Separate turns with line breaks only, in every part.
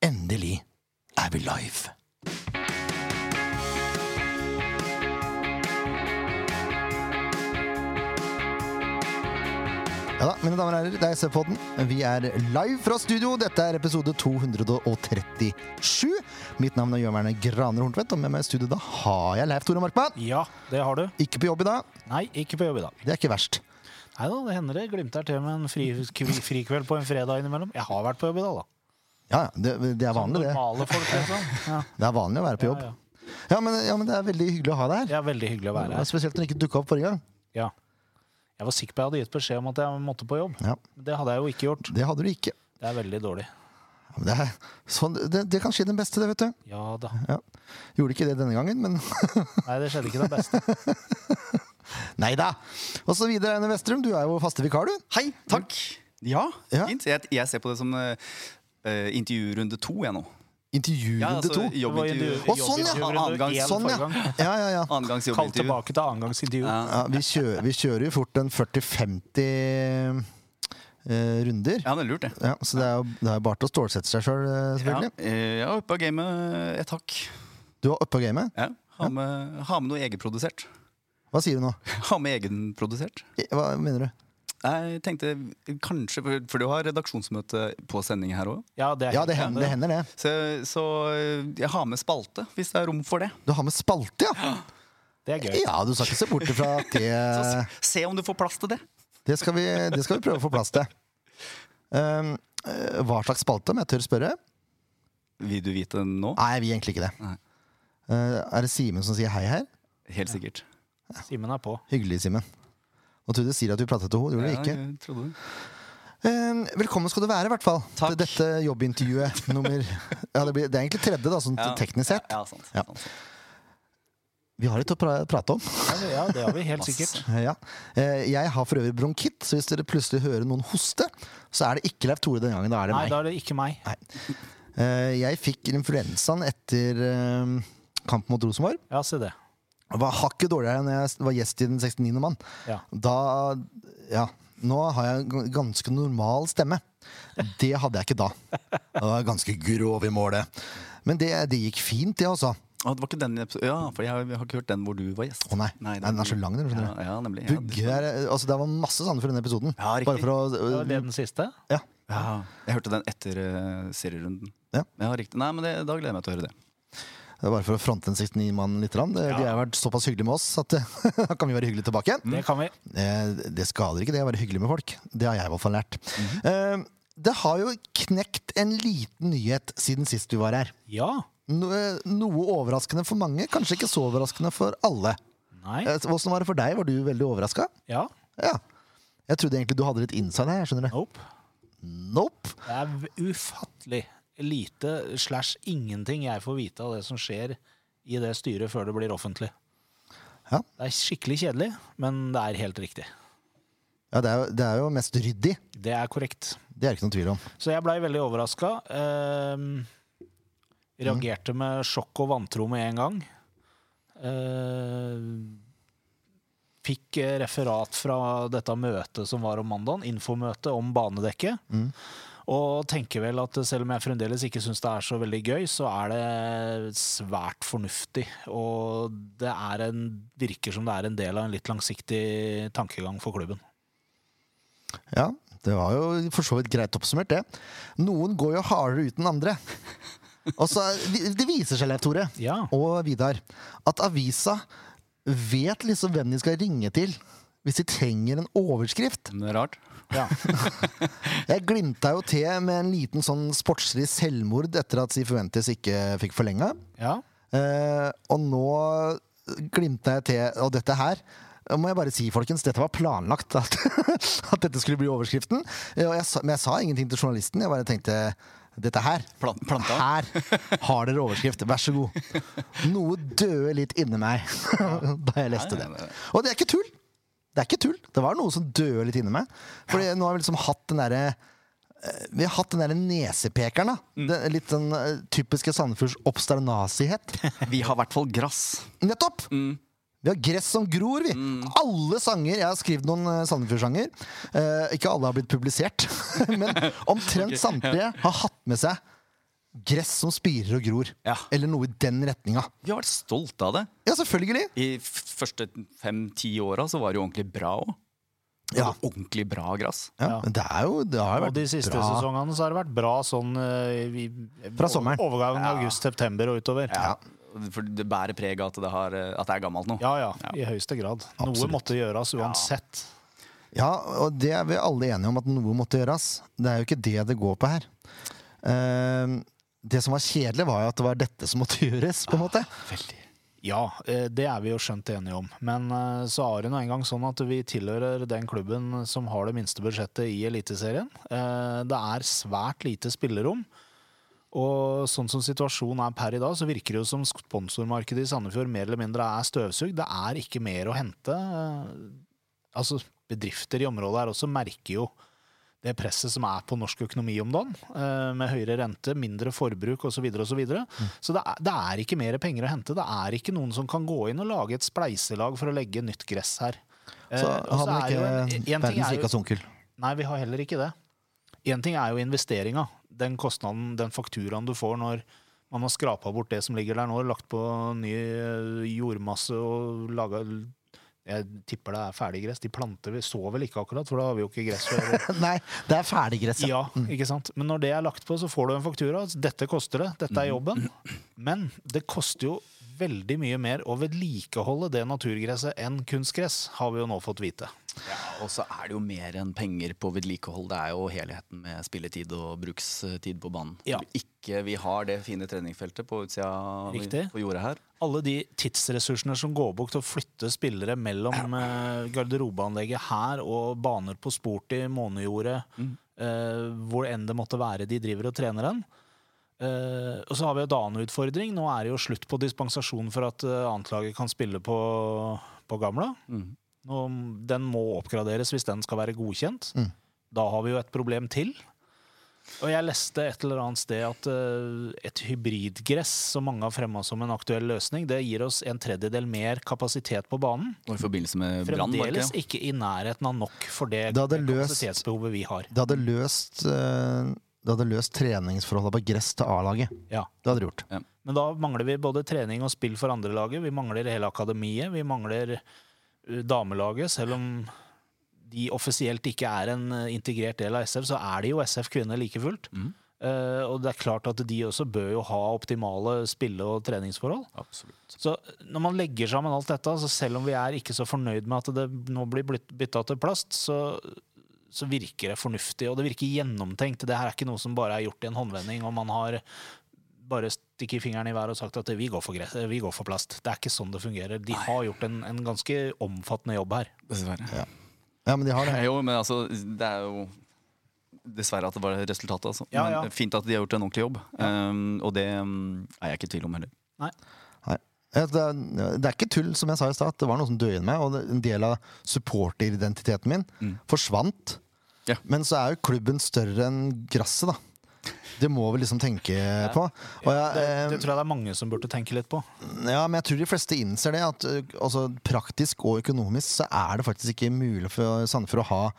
Endelig er vi live. Ja da, mine damer og herrer, det er SV-podden. Vi er live fra studio. Dette er episode 237. Mitt navn er Jørn Werner Graner Horntvedt, og med meg i studio da har jeg Leif Tore Markmann.
Ja, det har du.
Ikke på jobb i dag.
Nei, ikke på jobb i dag.
Det er ikke verst.
Nei da, det hender det glimter til med en fri- kv- frikveld på en fredag innimellom. Jeg har vært på jobb i dag, da.
Ja, ja, det, det er vanlig, det.
Normale folk, liksom. Ja,
Det er vanlig å være på jobb.
ja, ja.
Ja, men, ja, men det er veldig hyggelig å ha deg her.
Det er veldig hyggelig å være
Det var
her.
Spesielt når du ikke dukka opp forrige gang.
Ja. Jeg var sikker på jeg hadde gitt beskjed om at jeg måtte på jobb.
Ja.
Men Det hadde jeg jo ikke gjort.
Det hadde du ikke.
Det er veldig dårlig.
Ja, men Det, er, sånn, det, det kan skje den beste, det, vet du.
Ja da.
Gjorde ikke det denne gangen, men
Nei, det skjedde ikke det beste.
nei da. Og så videre, Einar Vestrum, du er jo faste vikar, du.
Hei, takk. Ja,
Ja.
fint. Jeg, jeg ser på det som eh, eh, intervjurunde to, jeg nå. Ja,
Intervjurunde
altså,
to.
jobbintervju.
Å, sånn, ja!
Annen gang,
Sånn, ja. ja, ja, ja.
Annengangs
Kall
jobbintervju.
tilbake til annengangsintervju.
Ja.
ja vi, kjører, vi kjører jo fort en 40-50 eh, runder.
ja, det er lurt, det.
Ja, så det er jo det er jo bare til å stålsette seg sjøl, selv,
Ja,
selvfølgelig.
eh, jeg er oppe av gamet et hakk.
Du var oppe av gamet.
Ja, ha, med, ha med noe egenprodusert.
Hva sier du nå?
Ha med egenprodusert.
I- Hva mener du?
Jeg tenkte kanskje For, for du har redaksjonsmøte på sending her òg.
Ja, det er
Ja, det
helt
hender det. Hender det.
Så, så eh, jeg har med spalte, hvis det er rom for det.
Du har med spalte, ja!
Det er gøy.
Ja, du skal ikke se bort ifra at
Så
det
se, se om du får plass til det.
Det skal vi, det skal vi prøve å få plass til. Um, eh, hva slags spalte, om jeg tør spørre?
Vil du vite nå?
Nei, vi egentlig ikke det.
Nei.
Eh, er det Simen som sier hei her?
Helt sikkert.
Simen er på.
Hyggelig, Simen. Og Trude sier at du pratet til henne. Gjorde du
Ja,
ikke?
jeg trodde det.
Eh, velkommen skal du være, i hvert fall.
Takk.
Til dette jobbintervjuet nummer ja, det, blir, det er egentlig tredje, da, sånn
Ja.
teknisk sett.
Ja, sant,
Ja.
sant, sant.
Vi har litt å pra prate om.
Ja, det- Ja, det har vi helt sikkert.
Ja. Eh, jeg har for øvrig bronkitt, så hvis dere plutselig hører noen hoste, så er det ikke Leif Tore den gangen. Da er det
Nei,
meg.
da er det ikke meg.
Eh, jeg fikk influensaen etter eh, kampen mot Rosenborg.
Ja, se det.
Var hakket dårligere enn jeg var gjest i Den 69. mann.
Ja.
Da Ja. Nå har jeg en g- ganske normal stemme. Det hadde jeg ikke da. Jeg var ganske grov i målet. Men det, det gikk fint, det, altså. Å
Å, det var ikke den episoden. Ja, for jeg har jeg har ikke hørt den hvor du var gjest.
nei.
Nei,
nei, den er så lang, den.
Ja,
skjønner du.
ja, nemlig. Ja,
Bugge er, altså, det var masse sånne for denne episoden.
Ja, riktig.
Bare for å
Det var det den siste.
ja.
ja, jeg hørte den etter eh, serierunden.
Ja.
riktig. Nei, men det, Da gleder jeg meg til å høre det.
Det var Bare for å fronte en 69-mann litt. grann. Det- De har vært såpass hyggelige med oss at da kan vi være hyggelige tilbake.
Det kan vi.
Eh, Det skader ikke det å være hyggelig med folk. Det har jeg i hvert fall lært. Eh, Det har jo knekt en liten nyhet siden sist vi var her.
Ja.
No- eh, Noe overraskende for mange, kanskje ikke så overraskende for alle.
Nei.
Eh, Hvordan var det for deg? Var du veldig overraska?
Ja.
Ja. Jeg trodde egentlig du hadde litt inside her. jeg skjønner det.
Nope.
Nope.
Det er v- ufattelig lite slash ingenting jeg får vite av det som skjer i det styret før det blir offentlig.
Ja.
Det er skikkelig kjedelig, men det er helt riktig.
Ja, det er, jo, det er jo mest ryddig.
Det er korrekt.
Det er det ikke noen tvil om.
Så jeg blei veldig overraska. reagerte med sjokk og vantro med en gang. Ehm, fikk eh, referat fra dette møtet som var om mandagen, infomøtet om banedekket. Og tenker vel at selv om jeg fremdeles ikke syns det er så veldig gøy, så er det svært fornuftig. Og det er en, virker som det er en del av en litt langsiktig tankegang for klubben.
Ja, det var jo for så vidt greit oppsummert, det. Noen går jo hardere ut enn andre. Og så, Det viser seg, Leif Tore,
Ja.
og Vidar, at avisa vet liksom hvem de skal ringe til hvis de trenger en overskrift.
Men det er rart.
Ja.
Jeg glimta jo til med en liten sånn sportslig selvmord etter at Sifuentes ikke fikk forlenga.
ja.
Eh, og nå glimta jeg til Og dette her må jeg bare si, folkens, dette var planlagt at, at dette skulle bli overskriften. Eh, Og jeg, sa- men jeg sa ingenting til journalisten. Jeg bare tenkte dette her
Plan- planta.
Her har dere overskrift. Vær så god. Noe døde litt inni meg da jeg leste
Nei,
det.
nei, nei.
Og det er ikke tull! Det er ikke tull. Det var noe som døde litt inni meg. Fordi nå har vi liksom hatt den derre eh, vi har hatt den der nesepekeren. da Den Litt den eh, typiske Sandefjords obsternasihet.
Vi har i hvert fall grass.
Nettopp! Vi har gress som gror, vi. Alle sanger Jeg har skrevet noen eh, Sandefjord-sanger. Eh, ikke alle har blitt publisert, men omtrent samtlige har hatt med seg Gress som spirer og gror.
Ja.
Eller noe i den retninga.
Vi har vært stolte av det.
Ja, selvfølgelig!
I f- første fem-ti åra så var det jo ordentlig bra òg.
Ja.
Ordentlig bra gress.
Ja,
Ja.
men det er jo Det har jo
Og
vært
de siste
bra.
sesongene så har det vært bra sånn eh, i-
Fra sommeren.
Overgangen august-september og utover.
Ja. For det bærer preg av at det, har, eh, at det er gammelt nå.
Ja, ja, i høyeste grad. Noe
Absolutt.
måtte gjøres uansett.
Ja, og det er vi alle enige om at noe måtte gjøres. Det er jo ikke det det går på her. Ehm, det som var kjedelig, var jo at det var dette som måtte gjøres, på en måte.
Veldig.
Ja, eh, det er vi jo skjønt enige om. Men eh, så er det nå engang sånn at vi tilhører den klubben som har det minste budsjettet i Eliteserien. Eh, Det er svært lite spillerom. Og sånn som situasjonen er per i dag, så virker det jo som sponsormarkedet i Sandefjord mer eller mindre er støvsugd. Det er ikke mer å hente. Eh, Altså, bedrifter i området her også merker jo det presset som er på norsk økonomi om dagen, eh, med høyere rente, mindre forbruk osv. Så, videre, og så, videre.
Mm.
så det, er, det er ikke mer penger å hente. Det er ikke noen som kan gå inn og lage et spleiselag for å legge nytt gress her. Eh,
Så
og
hadde
er jo en-
man
en
ikke
ting er
verdens
jo-
rikeste onkel.
Nei, vi har heller ikke det. Én ting er jo investeringa. Den kostnaden, den fakturaen du får når man har skrapa bort det som ligger der nå, lagt på ny eh, jordmasse og laga Jeg tipper det er ferdiggress. De planter vi så vel ikke akkurat, for da har vi jo ikke gress. For
Nei, det er ferdiggress.
ja, ikke sant? Men når det er lagt på, så får du en faktura. Altså, Dette koster det, dette er jobben. Men det koster jo veldig mye mer å vedlikeholde det naturgresset enn kunstgress, har vi jo nå fått vite.
Ja, og så er det jo mer enn penger på vedlikehold. Det er jo helheten med spilletid og brukstid på banen.
Ja.
Ikke, vi har det fine treningsfeltet på utsida av-
Riktig.
på jordet her.
alle de tidsressursene som går bort til å flytte spillere mellom eh, garderobeanlegget her og baner på sport i månejordet, eh, hvor enn det måtte være de driver og trener hen. Eh, og så har vi en annen utfordring. Nå er det jo slutt på dispensasjon for at eh, annetlaget kan spille på, på gamla.
Mhm.
Nå, den må oppgraderes hvis den skal være godkjent.
Mm.
Da har vi jo et problem til. Og jeg leste et eller annet sted at eh, et hybridgress, som mange har fremma som en aktuell løsning, det gir oss en tredjedel mer kapasitet på banen.
Og i forbindelse med brann, var det
Fremdeles
ikke det?
ikke i nærheten av nok for det,
Det hadde løst-
kapasitetsbehovet vi har.
Det hadde løst eh, Det hadde løst treningsforholdet på gress til A-laget.
Ja.
Det hadde det gjort.
Men da mangler vi både trening og spill for andrelaget. Vi mangler hele akademiet. Vi mangler eh, damelaget. Selv om de offisielt ikke er en eh, integrert del av SF, så er de jo SF kvinner like fullt.
Mhm.
Eh, og det er klart at de også bør jo ha optimale spille- og treningsforhold.
Absolutt.
Så eh, når man legger sammen alt dette, så selv om vi er ikke så fornøyd med at det nå blir blitt- bytta til plast, så, så virker det fornuftig, og det virker gjennomtenkt. Det her er ikke noe som bare er gjort i en håndvending, og man har bare stikket fingeren i været og sagt at vi går for, gress, vi går for plast. Det er ikke sånn det fungerer. De har gjort en, en ganske omfattende jobb her.
Dessverre.
Ja, men de har det.
Jo, men altså, det er jo Dessverre at det var resultatet, altså.
Ja, ja.
Men fint at de har gjort en ordentlig jobb. Um, og det um, er jeg ikke i tvil om heller.
Ja, Det er, det er ikke tull, som jeg sa i stad. at Det var noe som døde meg, og det- en del av supporteridentiteten min
Mm.
forsvant.
Ja.
Men så er jo klubben større enn gresset, da. Det må vi liksom tenke på. Og jeg,
Det, det
eh,
tror jeg det er mange som burde tenke litt på.
ja, men jeg tror de fleste innser det. At eh, altså, praktisk og økonomisk så er det faktisk ikke mulig for Sandefjord å ha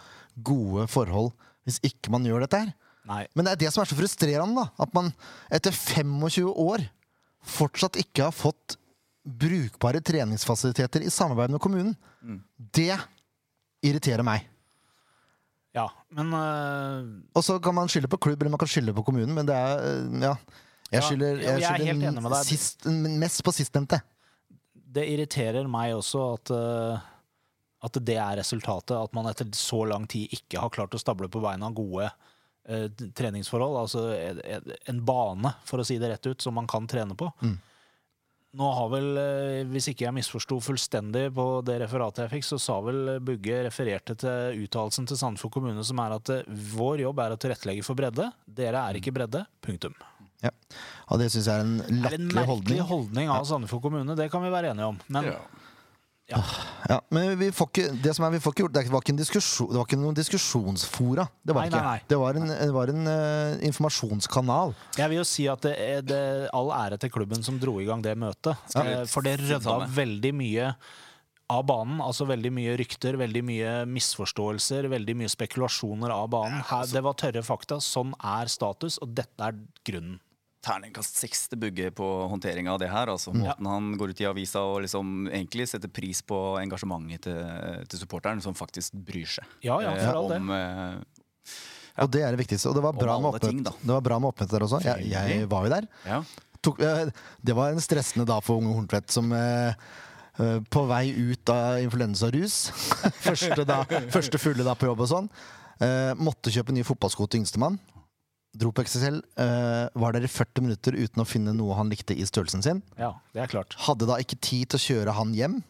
gode forhold hvis ikke man gjør dette her.
Nei.
Men det er det som er så frustrerende, da. At man etter 25 år fortsatt ikke har fått brukbare treningsfasiliteter i samarbeid med kommunen.
Mm.
Det irriterer meg.
Ja, men øh,
Og så kan man skylde på klubb, eller man kan skylde på kommunen, men det er øh, Ja. Jeg
Ja,
skylder,
jeg er
skylder
helt enig med deg.
Sist, mest på sistnevnte.
det irriterer meg også at, eh, at det er resultatet. At man etter så lang tid ikke har klart å stable på beina gode eh, treningsforhold. Altså en- en- en bane, for å si det rett ut, som man kan trene på.
Mm.
Nå har vel, eh, Hvis ikke jeg misforsto fullstendig på det referatet jeg fikk, så sa vel Bugge refererte til uttalelsen til Sandefjord kommune som er at eh, vår jobb er å tilrettelegge for bredde. Dere er ikke bredde. Punktum.
Ja. Og det syns jeg er en
Det er en
Mm. latterlig
merkelig
holdning.
holdning av Sandefjord kommune, det kan vi være enige om. Men
Ja, men vi får ikke, det som er, vi får ikke gjort, det var ikke, en diskusjon, det var ikke noen diskusjonsfora. Det var
Nei,
det ikke.
nei, nei.
Det var en, det var en øh, informasjonskanal.
Jeg vil jo si at det er det, all ære til klubben som dro i gang det møtet.
Skal vi
Eh, For det
si det
rydda
samme?
veldig mye av banen. Altså veldig mye rykter, veldig mye misforståelser, veldig mye
altså-
spekulasjoner av banen. Her, det var tørre fakta. Sånn er status, og dette er grunnen.
terningkast seks til Bugge på håndteringa av det her. altså
Mm.
Måten han går ut i avisa og liksom egentlig setter pris på engasjementet til, til supporteren, som faktisk bryr seg
Ja, ja,
eh,
for all
om eh,
Og det er det viktigste. Og det var bra
Om
med
alle ting,
oppmøtet
da.
Det var bra med oppmøtet der også. Jeg, jeg var jo der.
ja.
Tok, eh, det var en stressende dag for unge Horntvedt som eh, eh, på vei ut av influensarus. første, da, første fulle dag på jobb og sånn. Eh, måtte kjøpe nye fotballsko til yngstemann. Dro på XXL. eh, var der i 40 minutter uten å finne noe han likte i størrelsen sin.
Ja, det er klart.
Hadde da ikke tid til å kjøre han hjem.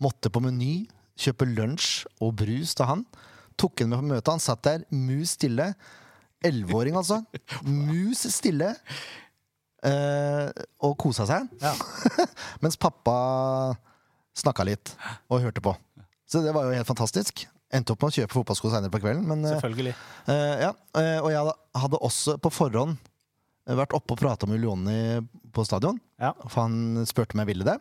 Måtte på Meny kjøpe lunsj og brus til han. Tok han med på møtet. Han satt der mus stille. Elleveåring, altså. Mus stille. Eh, og kosa seg.
Ja.
Mens pappa snakka litt og hørte på. Så det var jo helt fantastisk. Endte opp med å kjøpe fotballsko seinere på kvelden. Men, eh,
Selvfølgelig.
Eh, ja, eh, og jeg hadde- hadde også på forhånd eh, vært oppe og prata med Leoni på stadion.
Ja.
For han spurte om jeg ville det.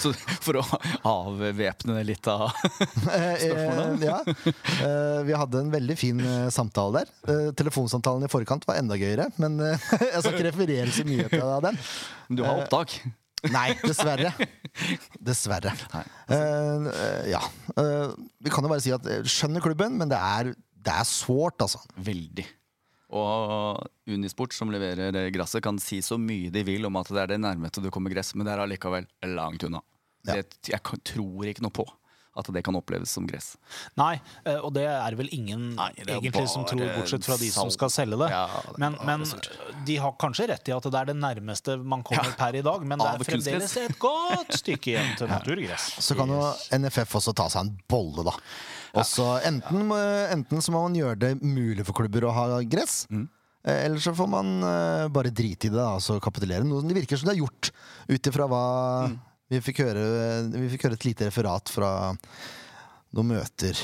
Så for å avvæpne litt av
Eh, eh, ja. eh, vi hadde en veldig fin eh, samtale der. Eh, telefonsamtalen i forkant var enda gøyere, men eh, jeg skal ikke referere så mye til den.
Du
Eh.
har opptak?
Nei, dessverre. Dessverre.
Nei.
Eh, eh, ja. Eh, vi kan jo bare si at eh, skjønner klubben, men det er, det er sårt, altså.
Veldig. Og Unisport, som leverer eh, gresset, kan si så mye de vil om at det er det nærmeste du kommer gress, men det er allikevel langt unna.
Ja.
Det, jeg kan- tror ikke noe på at det kan oppleves som gress.
Nei, eh, og det er vel ingen
Nei, det er
egentlig som tror,
bare
bortsett fra de som
salt.
skal selge det.
Ja, det er
men
bare
men eh,
surt.
de har kanskje rett i at det er det nærmeste man kommer per i dag, men det
Av
er fremdeles
kunstgress.
et godt stykke igjen til naturgress.
Så kan jo NFF også ta seg en bolle, da. Og så enten, må- enten så må man gjøre det mulig for klubber å ha gress.
Mm.
eh, Eller så får man eh, bare drite i det da, og så kapitulere. Noe som det virker som det er gjort, ut ifra hva
Mm.
vi, fikk høre, eh, vi fikk høre et lite referat fra noen møter.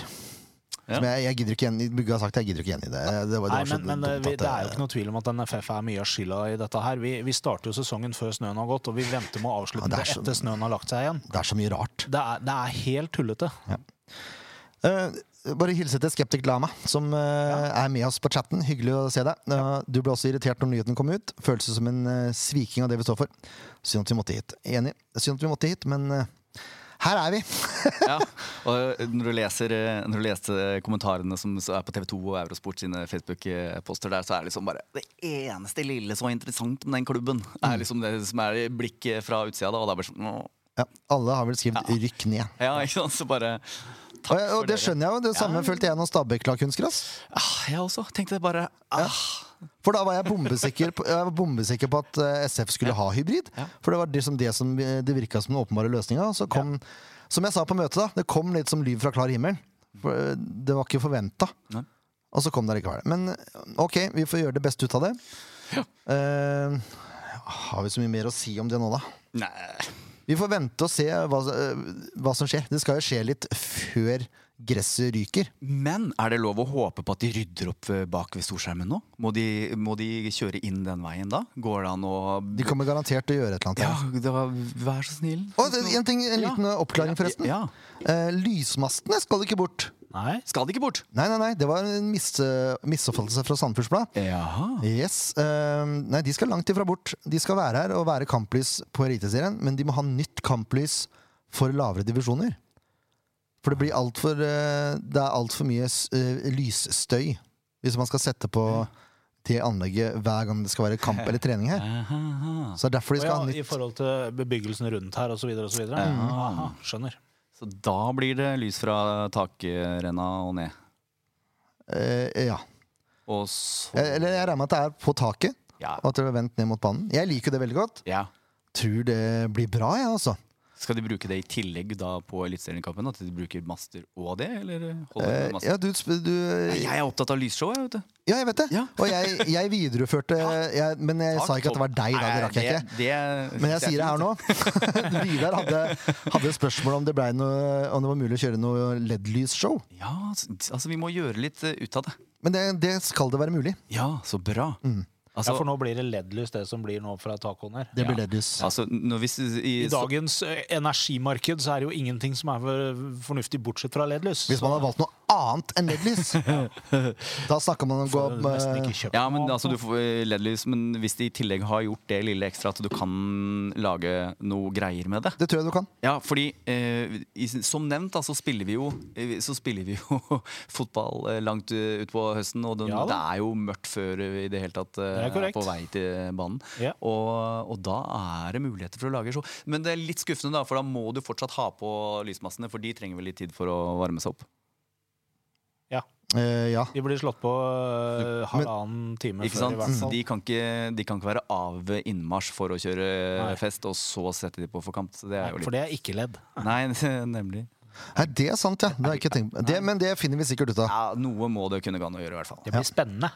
Ja.
Som jeg, jeg gidder ikke igjen, Bugge har sagt jeg gidder ikke igjen i det. Det, var, det,
Nei,
var så
men, men eh,
dumt
vi,
at
det er jo ikke noe tvil om at NFF er mye av skylda i dette her. Vi, vi starter jo sesongen før snøen har gått, og vi venter med å
Ja,
avslutte
det er
det
så-
etter snøen har lagt seg igjen.
det er så mye rart.
Det er, det er helt tullete.
Eh, bare hilse til Skeptic Lama, som eh, er med oss på chatten. Hyggelig å se deg. Eh, du ble også irritert når nyheten kom ut. Føltes som en eh, sviking av det vi står for. Synd at vi måtte hit. Enig. Synd at vi måtte hit, men eh, her er vi!
Ja, og når du, leser, når du leser kommentarene som er på TV 2 og Eurosport sine Facebook-poster der, så er det liksom bare det eneste lille som var interessant med den klubben,
Mm.
er liksom det som er i blikket fra utsida. da, Og det er bare sånn åh.
Ja, alle har vel skrevet 'rykk ned'.
Ja, ikke sant? Så bare
Og,
Takk
jeg- og
for
det
dere.
skjønner jeg jo. Det samme følte jeg når Stabæk la kunstgress.
Ah, jeg også tenkte bare ah,
For da var jeg bombesikker på, jeg var bombesikker på at eh, SF skulle ha hybrid. For det var liksom det som eh, det virka som den åpenbare løsninga. Så kom, som jeg sa på møtet, da, det kom litt som lyd fra klar himmel. For, eh, det var ikke forventa.
Nei.
Og så kom det likevel. Men eh, OK, vi får gjøre det beste ut av det. Eh, har vi så mye mer å si om det nå, da?
Nei.
Vi får vente og se hva, eh, hva som skjer. Det skal jo skje litt før gresset ryker.
Men er det lov å håpe på at de rydder opp eh, bak ved storskjermen nå? Må de, må de kjøre inn den veien da? Går det an å
De kommer garantert til å gjøre et eller annet.
Ja, da, vær så snill.
Og det- en, ting, en
Ja.
liten eh, oppklaring, forresten.
Ja.
Eh, lysmastene skal ikke bort.
Nei.
Skal det ikke bort?
Nei, nei, nei, det var en mis misoppfattelse fra Sandefjords Blad.
Jaha.
Yes. eh, nei, de skal langt ifra bort. De skal være her og være kamplys på Eliteserien, men de må ha nytt kamplys for lavere divisjoner. For det blir altfor uh, Det er altfor mye s- eh, lysstøy hvis man skal sette på det anlegget hver gang det skal være kamp eller trening her.
Aha.
Så det er derfor de
Og
skal
ja,
ha
I
nytt
forhold til bebyggelsen rundt her osv. osv. Aha, skjønner.
Så da blir det lys fra takrenna og ned.
eh, Ja.
Og så
Eh, Eller jeg regner med at det er på taket,
Ja.
og at det er vendt ned mot banen. Jeg liker det veldig godt.
ja.
Tror det blir bra, jeg, ja, altså.
Skal de bruke det i tillegg da på Eliteseriekampen? At de bruker master og det, eller
Eh,
holder de med master?
ja, du, sp- du
Nei, Jeg er opptatt av lysshow, jeg, vet du.
Ja, jeg vet det.
Ja.
Og jeg, jeg videreførte jeg, Men jeg
Takk,
sa ikke at det var deg, da. Det rakk jeg ikke.
Nei, det- det-
Men jeg sier det her nå. Vidar hadde, hadde spørsmål om det, ble noe, om det var mulig å kjøre noe LED-lysshow.
Ja, s- altså vi må gjøre litt eh, ut av det.
Men det, det skal det være mulig.
Ja, så bra.
Mm.
Altså,
Ja, for nå blir det LED-lys, det som blir nå fra tacoen her.
Det blir
Ja.
LED-lys.
altså når vi s- i,
I dagens eh, energimarked så er det jo ingenting som er for- fornuftig, bortsett fra LED-lys.
Hvis man hadde valgt noe annet enn LED-lys. Da snakker man om å gå
Får jo nesten
med
ikke kjøpt
Ja, men
noe
altså, du
annet.
får eh, LED-lys, men hvis de i tillegg har gjort det lille ekstra at du kan lage noe greier med det
Det tror jeg du kan.
Ja, fordi eh, i, som nevnt da, så spiller vi jo, eh, så spiller vi jo fotball eh, langt eh, utpå høsten. Og den,
Ja da.
det er jo mørkt før vi i det hele tatt eh,
Det er korrekt.
på vei til banen.
Ja.
Og, og da er det muligheter for å lage show. Men det er litt skuffende, da, for da må du fortsatt ha på lysmassene. For de trenger vel litt tid for å varme seg opp.
Eh, ja.
De blir slått på eh,
Men-
halvannen time
Ikke
før,
sant?
i hvert fall.
De, sånn. kan ikke, de kan ikke være av innmarsj for å kjøre
Nei.
fest, og så sette de på forkant. Så Det er jo
For
litt
det er ikke ledd.
Nei, nemlig.
Nei, det er sant, ja. Det har jeg ikke tenkt på. Det, men det finner vi sikkert ut av.
Ja, noe må det kunne gå an å gjøre, i hvert fall.
Det blir spennende.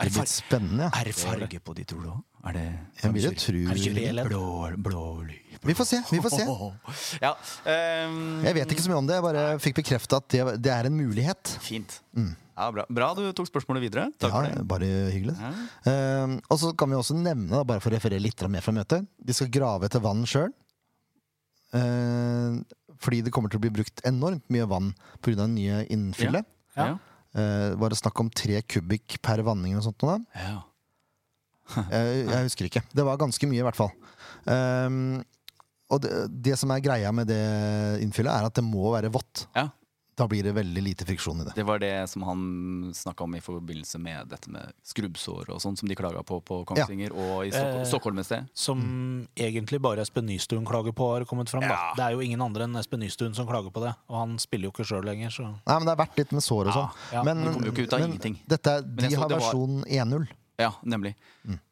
Det blir spennende. ja.
Er det farge på de, tror du? Er det
Jeg vil jo tro
Er det ikke det ledd?
Blå, blå lyd.
Vi får se. vi får se
Ja. ehm,
Jeg vet ikke så mye om det. Jeg bare fikk bekrefta at det, det er en mulighet.
Fint. Ja, bra. bra du tok spørsmålet videre. Takk
Ja,
for det.
bare hyggelig.
Ja.
Eh, og så kan vi også nevne, da, bare for å referere litt mer fra møtet De skal grave etter vann sjøl. fordi det kommer til å bli brukt enormt mye vann pga. det nye innfyllet.
Ja.
Ja.
Eh, var det snakk om tre kubikk per vanning eller noe sånt? nå da?
Ja.
Jeg, jeg husker ikke. Det var ganske mye, i hvert fall. Ehm, og det, det som er greia med det innfyllet, er at det må være vått.
Ja.
Da blir det veldig lite friksjon i det.
Det var det som han snakka om i forbindelse med dette med skrubbsår og sånn, som de klaga på på Kongsvinger og i Stockholm,
Eh.
Stockholm et sted.
Som
Mm.
egentlig bare Espen Nystuen klager på, har kommet fram. Da.
Ja.
Det er jo ingen andre enn Espen Nystuen som klager på det, og han spiller jo ikke sjøl lenger, så
Nei, men Det har vært litt med sår og sånn.
Ja, ja,
men
det kommer jo ikke ut av
men
ingenting.
Dette, er-
jeg
de
så
har
det var-
versjon 1.0.
Ja, nemlig.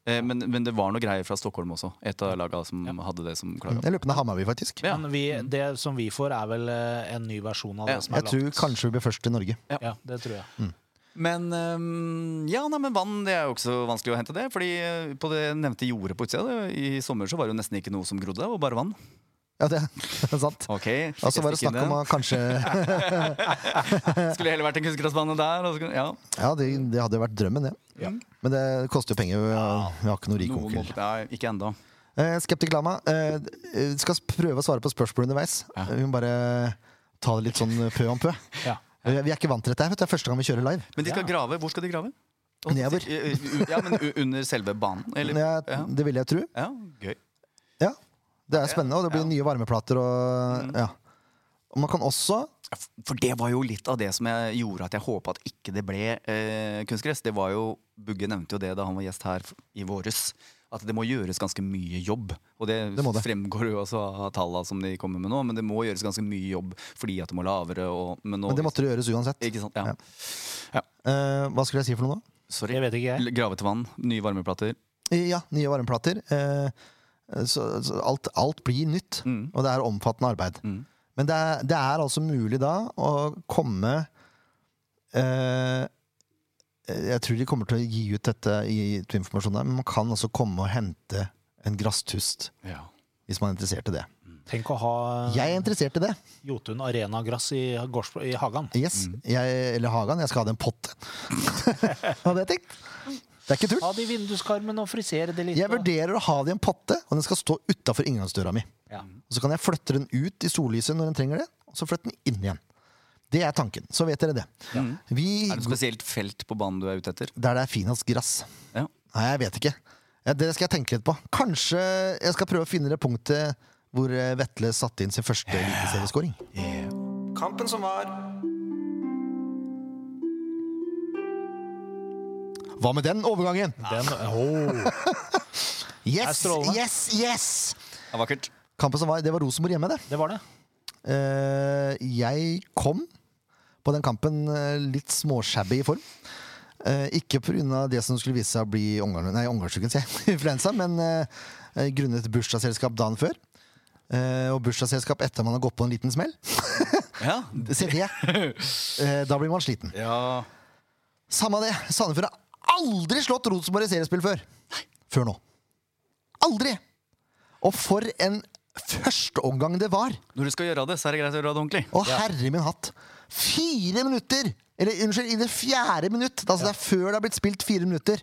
Eh, men, men det var noe greier fra Stockholm også. Et av laga som hadde det som klaga.
Jeg lurer på om det er Hammarby, faktisk.
Ja.
Men vi, det som vi får, er vel eh, en ny versjon av det
Ja,
som
Jeg
er
tror kanskje vi blir først i Norge.
ja.
Ja, det tror jeg.
Men ehm, ja, nei, men vann det er jo ikke så vanskelig å hente det. Fordi eh, på det nevnte jordet på utsida det- i sommer så var det jo nesten ikke noe som grodde. Det var bare vann.
Ja, det er sant.
Ok,
Og så
fikk jeg
Altså, var det
stikke inn
snakk om
den?
å kanskje
Skulle heller vært en kunstgressbane der. Og så, kunne- ja,
Ja, det, det hadde jo vært drømmen, det. Men det koster jo penger. Vi har- vi har ikke noe rik
noen
onkel.
måtte, nei, ikke ennå.
Eh, Skeptik Lama, eh, eh, skal s- prøve å svare på spørsmål underveis. Vi må bare ta det litt sånn eh, pø om pø.
Ja.
Eh, Vi er ikke vant til dette. her, vet du. Det er første gang vi kjører live.
Men de skal
Ja.
grave. Hvor skal de grave?
Nedover.
Eh, u- Ja, men u- Under selve banen? Eller?
Ja,
Ja.
det ville jeg tro.
ja, gøy.
Ja. Det er spennende, og det blir
Ja. Mm.
nye varmeplater og ja. Og man kan også
Ja, f- For det var jo litt av det som jeg gjorde at jeg håpa at ikke det ble eh, kunstgress. Det var jo, Bugge nevnte jo det da han var gjest her f- i våres. At det må gjøres ganske mye jobb. Og det,
Det må det.
fremgår jo også av tallene som de kommer med nå. Men det må gjøres ganske mye jobb fordi at det må lavere og Men, nå,
Men det måtte det gjøres uansett.
Ikke sant? Ja.
Ja. Eh, hva skulle jeg si for noe nå?
Sorry.
Jeg vet ikke, jeg.
L- Grave til vann, nye varmeplater.
Ja, nye varmeplater. Eh, så, så alt, alt blir nytt,
Mm.
og det er omfattende arbeid. Men det er, det er altså mulig da å komme eh, Jeg tror de kommer til å gi ut dette i informasjonen, der, men man kan altså komme og hente en grasstust
Ja.
hvis man er interessert i det.
Tenk å ha
Jeg er interessert i det.
Jotun arenagress i, gårds- i hagen.
Yes. Jeg, eller Hagan. Jeg skal ha det i en pott. Hadde jeg tenkt. Det er ikke tull.
Ha det i vinduskarmen og frisere det litt.
Jeg
og-
vurderer å ha det i en potte, og den skal stå utafor inngangsdøra mi.
Ja.
Og så kan jeg flytte den ut i sollyset når den trenger det, og så flytte den inn igjen. Det er tanken. Så vet dere det. Vi,
Er det et spesielt felt på banen du er ute etter?
der det er finest gress.
Ja.
Nei, jeg vet ikke. Ja, det skal jeg tenke litt på. Kanskje jeg skal prøve å finne det punktet hvor eh, Vetle satte inn sin første eliteserieskåring.
Kampen som var.
Hva med den overgangen?
Den, Åh. Er
Yes,
strålende.
yes, yes!
Det er vakkert.
Kampen som var, det var Rosenborg hjemme, det.
Det var det.
Eh, jeg kom på den kampen eh, litt småshabby i form. Eh, ikke pga. det som skulle vise seg å bli omgang- nei, omgangssyken, sier jeg, influensa, men eh, eh, grunnet bursdagsselskap dagen før. Eh, og bursdagsselskap etter man har gått på en liten smell.
Ja.
Se det! Eh, da blir man sliten.
ja.
Samme det. Sandefjord har aldri slått Rosenborg i seriespill før. Før nå. Aldri! Og for en førsteomgang det var!
Når du skal gjøre det, så er det greit å gjøre det ordentlig.
Å, herre min hatt! Fire minutter! Eller unnskyld, i det fjerde minutt. Altså, Det er før det har blitt spilt fire minutter.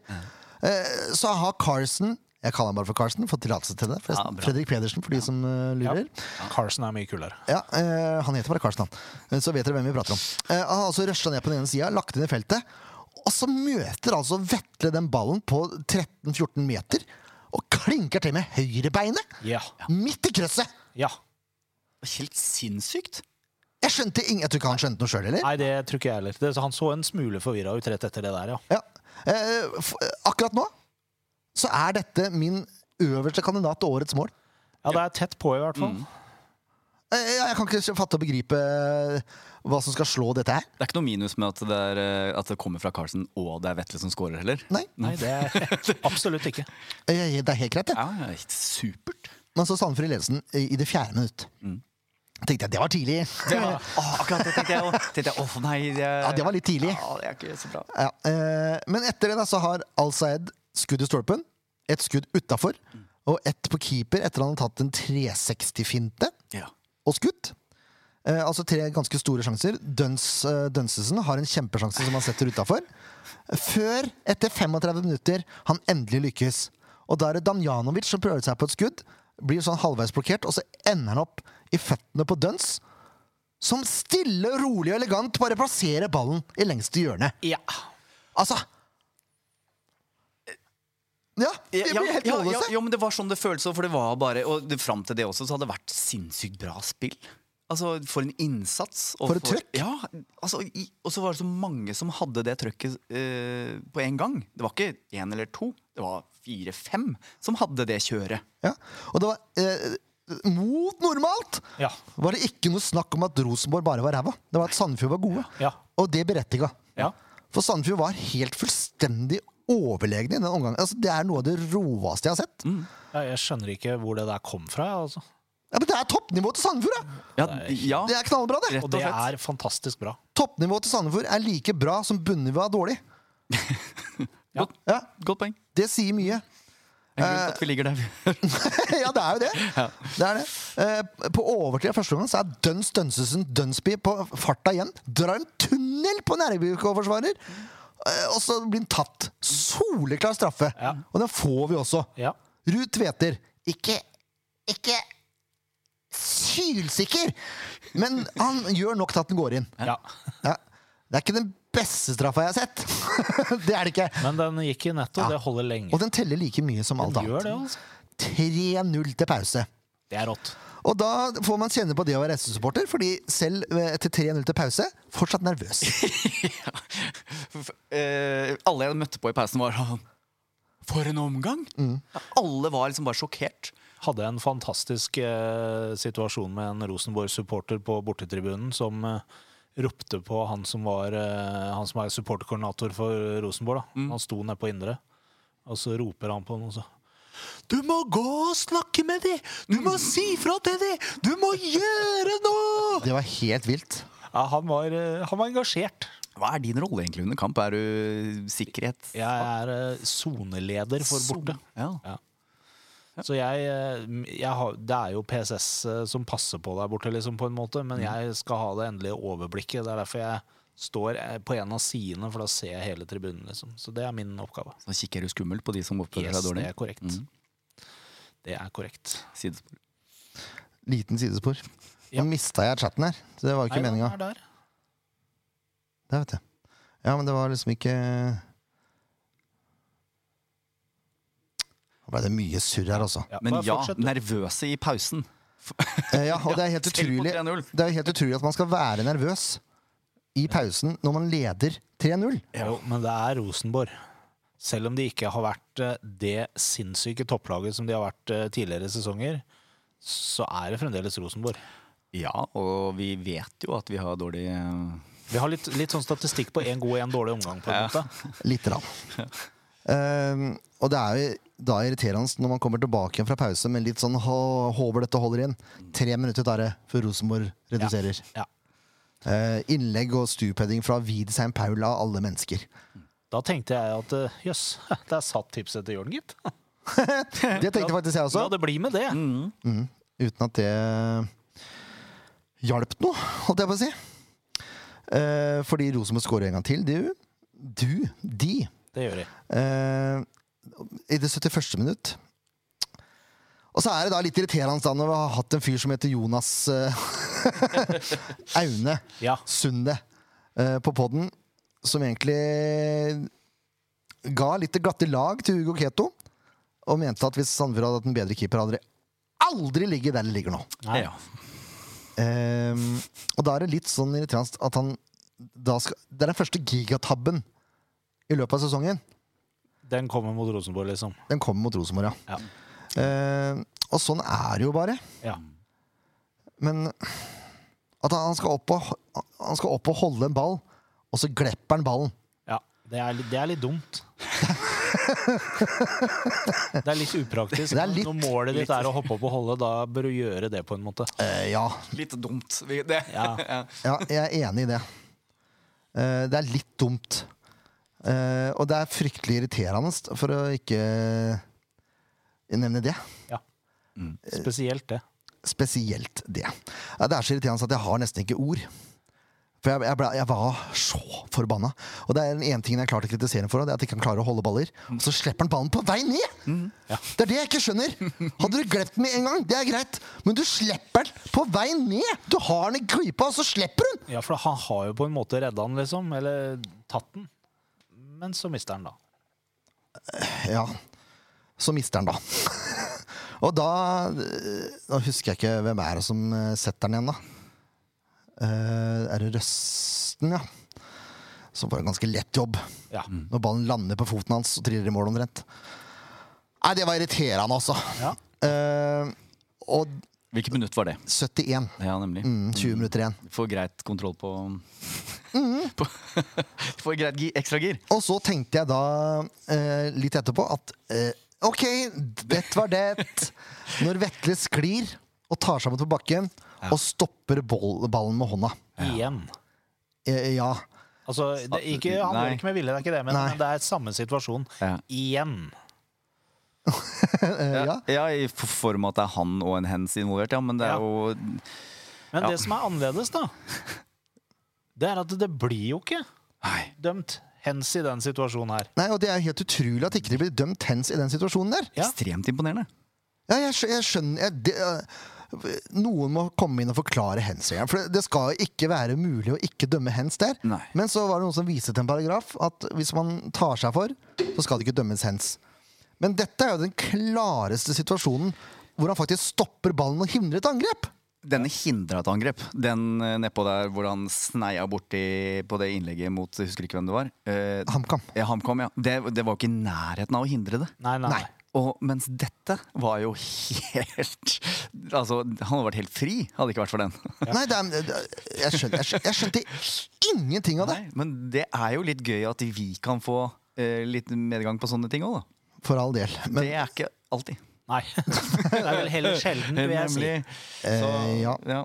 Eh, Så har Carson Jeg Jeg kaller han bare for Carsten. Fått tillatelse til det.
Ja,
forresten.
bra.
Fredrik Pedersen, for de som eh, lurer.
Carson er mye kulere.
Ja, eh, Han heter bare Karsten, han. Eh, Så vet dere hvem vi prater om. Eh, han har altså rusha ned på den ene sida, lagt inn i feltet. Og så møter altså Vetle den ballen på 13-14 meter og klinker til med høyrebeinet!
Ja.
Midt i krøsset!
ja.
Helt sinnssykt!
Jeg skjønte ing- Jeg tror ikke han skjønte noe sjøl heller.
Nei, det tror ikke jeg heller. Det, han så en smule forvirra ut rett etter det der, ja.
Ja. Eh, f- akkurat nå så er dette min øverste kandidat til årets mål.
Ja, det er tett på, i hvert fall.
Eh, jeg kan ikke fatte og begripe eh, hva som skal slå dette her.
Det er ikke noe minus med at det, er, eh, at det kommer fra Carlsen og det er Vetle som scorer, heller.
Nei,
Nei, det er absolutt ikke.
eh, det er helt greit, det.
Ja, ja, helt supert.
Men så Sandefjord ledelsen i i det fjerde minutt. Tenkte jeg, Det var tidlig!
Ja. Å, akkurat det tenkte jeg òg. Tenkte jeg, åh, nei, det,
Ah. Ja, det var litt tidlig.
Ja, det er ikke så bra.
Ja, eh, men etter det da, så har Al-Saed skudd i stolpen, et skudd utafor, og ett på keeper etter han har tatt en 360-finte
Ja.
og skutt. Eh, altså tre ganske store sjanser. Duns, eh, Dunsesen har en kjempesjanse som han setter utafor. Før, etter 35 minutter, han endelig lykkes. Og da er det Damjanovic som prøver seg på et skudd. Blir sånn halvveis blokkert, og så ender han opp i føttene på Duns. Som stille, rolig og elegant bare plasserer ballen i lengste hjørne.
Ja.
Altså Ja, vi
Eh, Ja,
blir helt
ja, ja,
målløse.
ja, men det var sånn det føltes òg, for det var bare Og det, fram til det også, så hadde det vært sinnssykt bra spill. Altså, For en innsats. og
For et trøkk.
Ja, altså, i, Og så var det så mange som hadde det trøkket eh, på en gang. Det var ikke én eller to, det var fire-fem som hadde det kjøret.
Ja. Og det var eh, mot normalt!
Ja.
Var det ikke noe snakk om at Rosenborg bare var ræva. Det var at Sandefjord var gode.
Ja.
Og det berettiga.
Ja.
For Sandefjord var helt fullstendig overlegne i den omgangen. Altså, det er noe av det råeste jeg har sett.
Ja, Jeg skjønner ikke hvor det der kom fra. Altså.
Ja, men det er toppnivået til Sandefjord! da!
Ja, ja,
Det er knallbra, det!
rett
Og
og
det
slett.
er fantastisk bra.
Toppnivået til Sandefjord er like bra som bunnivået er dårlig.
Ja.
Ja,
Godt poeng.
Det sier mye.
En grunn til at vi ligger der vi gjør.
ja, det er jo det. det, er det. Eh, på overtid av første omgang så er Dønns Dønsesen Dønsby på farta igjen. Drar en tunnel på Nærbykå-forsvarer! Eh, og så blir han tatt. Soleklar straffe.
Ja.
Og den får vi også.
Ja.
Ruud Tveter. Ikke Ikke sylsikker! Men han gjør nok til at den går inn.
ja.
Ja. Det er ikke den beste straffa jeg har sett. det er det ikke.
Men den gikk i netto.
Ja.
Det holder lenge.
Og den teller like mye som alt
Den gjør det,
annet. 3-0
altså.
til pause.
Det er rått.
Og da får man kjenne på det å være SV-supporter, fordi selv eh, etter 3-0 til pause, fortsatt nervøs.
Eh, alle jeg møtte på i pausen, var sånn For en omgang! Ja, Alle var liksom bare sjokkert.
Hadde en fantastisk eh, situasjon med en Rosenborg-supporter på bortetribunen som eh, ropte på han som, var, eh, han som er supporterkoordinator for Rosenborg. Da. Han sto nede på indre, og så roper han på noen så du må gå og snakke med dem! Du må si fra til dem! Du må gjøre noe!
Det var helt vilt.
Ja, han, var, eh, han var engasjert.
Hva er din rolle egentlig under kamp? Er du sikkerhet?
Jeg er eh, soneleder for borte.
Ja.
Så jeg, eh, jeg har, Det er jo PSS eh, som passer på der borte, liksom, på en måte. Men jeg skal ha det endelige overblikket. Det er derfor jeg står eh, på en av sidene, for da ser jeg hele tribunen. liksom. Så det er min oppgave.
Så kikker du skummelt på de som oppfører
Yes,
seg dårlig?
det er Mm. korrekt. Det er korrekt.
Sidespor.
Liten sidespor.
Ja.
Nå mista jeg chatten her. Så det var jo ikke
Nei,
meninga.
den er der.
Det vet jeg. Ja, men det var liksom ikke Da ble det mye surr her, altså.
Ja,
Men
bare
ja,
fortsett, du.
nervøse i pausen.
Eh, Ja, og det er helt
selv på
utrolig
3-0.
Det er jo helt utrolig at man skal være nervøs i pausen når man leder 3-0.
Jo, men det er Rosenborg. Selv om de ikke har vært eh, det sinnssyke topplaget som de har vært eh, tidligere sesonger, så er det fremdeles Rosenborg.
Ja, og vi vet jo at vi har dårlig eh,
Vi har litt, litt sånn statistikk på én god og én dårlig omgang. på en måte.
Litt rann. Ehm, og det er jo da irriterende når man kommer tilbake igjen fra pause med litt sånn «Hå- håper dette holder inn. Tre minutter tar det før Rosenborg reduserer.
Ja.
Eh, innlegg og stupheading fra Widesheim Paul av alle mennesker.
Da tenkte jeg at eh, jøss, der satt tipset til Jørn, gitt.
Det tenkte faktisk jeg
Ja,
også,
det blir med det.
uten at det hjalp noe, holdt jeg på å si. Eh, fordi Rosenborg skårer en gang til. Du, du de.
Det gjør de.
Eh, I det 71. minutt Og så er det da litt irriterende da når vi har hatt en fyr som heter Jonas eh, Aune
Ja.
Sunde eh, på podden, som egentlig ga litt det glatte lag til Hugo Keto, og mente at hvis Sandefjord hadde hatt en bedre keeper, hadde de aldri ligget der de ligger nå.
Nei.
Ja.
Ehm, og da er det litt sånn irriterende at han da skal, Det er den første gigatabben i løpet av sesongen.
Den kommer mot Rosenborg, liksom.
Den kommer mot Rosenborg, ja.
Ja.
Ehm, og sånn er det jo bare.
ja.
Men at han skal opp og, han skal opp og holde en ball, og så glepper han ballen.
ja. Det, er, litt- det er litt dumt. Det er litt upraktisk.
Det er litt-
Når målet ditt er å hoppe opp og holde, da bør du gjøre det på en måte.
Eh, ja,
Litt dumt. Vi- Det.
Ja.
ja, jeg er enig i det. Eh, det er litt dumt. Eh, og det er fryktelig irriterende, for å ikke nevne det.
Ja. Spesielt det.
Spesielt det. Ja, Det er så irriterende at jeg har nesten ikke ord. For jeg, jeg, ble, jeg var så forbanna. Og det er den ene tingen jeg klarte å kritisere ham for, og det er at ikke han klarer å holde baller. Og så slipper han ballen på vei ned! Det er det jeg ikke skjønner. Hadde du glemt den med en gang, det er greit, men du slipper den på vei ned! Du har den i klypa, og så slipper hun!
Ja, for han har jo på en måte redda han, liksom. Eller tatt den. Men så mister han, da.
Ja. Så mister han, da. og da Nå husker jeg ikke hvem er det som eh, setter den igjen, da. Eh, er det Røsten, ja? Som får en ganske lett jobb.
Ja.
Når ballen lander på foten hans og triller i mål omtrent. Nei, det var irriterende, altså.
Ja.
Eh, og
Hvilket minutt var det?
71.
Ja, nemlig.
Mm, 20 minutter igjen.
Får greit kontroll på,
Mhm.
på Får greit gi- ekstra gir.
Og så tenkte jeg da eh, litt etterpå at eh, OK, det var det. Når Vetle sklir og tar seg med på bakken og stopper boll, ballen med hånda.
Igjen.
Eh, ja.
Altså, det, er ikke, han
Nei.
gjør ikke med vilje, det er ikke det, men,
Nei.
men det er samme situasjon
Ja.
igjen.
Eh, ja.
Ja. i f- form av at det er han og en hands involvert, ja. Men det er
Ja.
jo
Men
Ja.
det som er annerledes, da, det er at det blir jo ikke
Nei.
dømt hens i den situasjonen her.
Nei, og Det er jo helt utrolig at ikke de blir dømt hens i den situasjonen der.
Ja.
Ekstremt imponerende.
Ja, jeg, skjø- jeg skjønner jeg, det, eh, Noen må komme inn og forklare hens-regelen. For det- det skal jo ikke være mulig å ikke dømme hens der.
Nei.
Men så var det noen som viste til en paragraf at hvis man tar seg for, så skal det ikke dømmes hens. Men dette er jo den klareste situasjonen hvor han faktisk stopper ballen og hindrer et angrep.
Denne hindra et angrep. Den eh, nedpå der hvor han sneia borti på det innlegget mot jeg Husker ikke hvem det var. Eh,
HamKam.
ja, HamKam, ja. Det, det var jo ikke i nærheten av å hindre det.
Nei, nei.
Nei.
Og mens dette var jo helt Altså, han hadde vært helt fri, hadde det ikke vært for den.
Nei, det er, det- jeg, skjønner, jeg, skjønte, jeg skjønte ingenting av det,
Nei, men det er jo litt gøy at vi kan få eh, litt medgang på sånne ting òg, da.
for all del. Men
det er ikke alltid.
nei. det er vel heller sjelden, vil jeg si.
Nemlig. Så,
Eh, ja.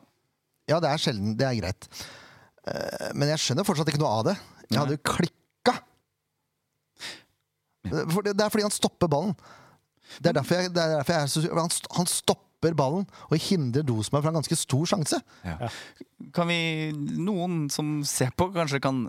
Ja, det er sjelden. Det er greit. Eh, Men jeg skjønner fortsatt ikke noe av det. Jeg hadde jo klikka! For det det er fordi han stopper ballen. Det er derfor jeg, det er derfor jeg er så sur. Han st- Han stopper ballen og hindrer Dosmer fra en ganske stor sjanse.
Ja. Kan vi, noen som ser på, kanskje kan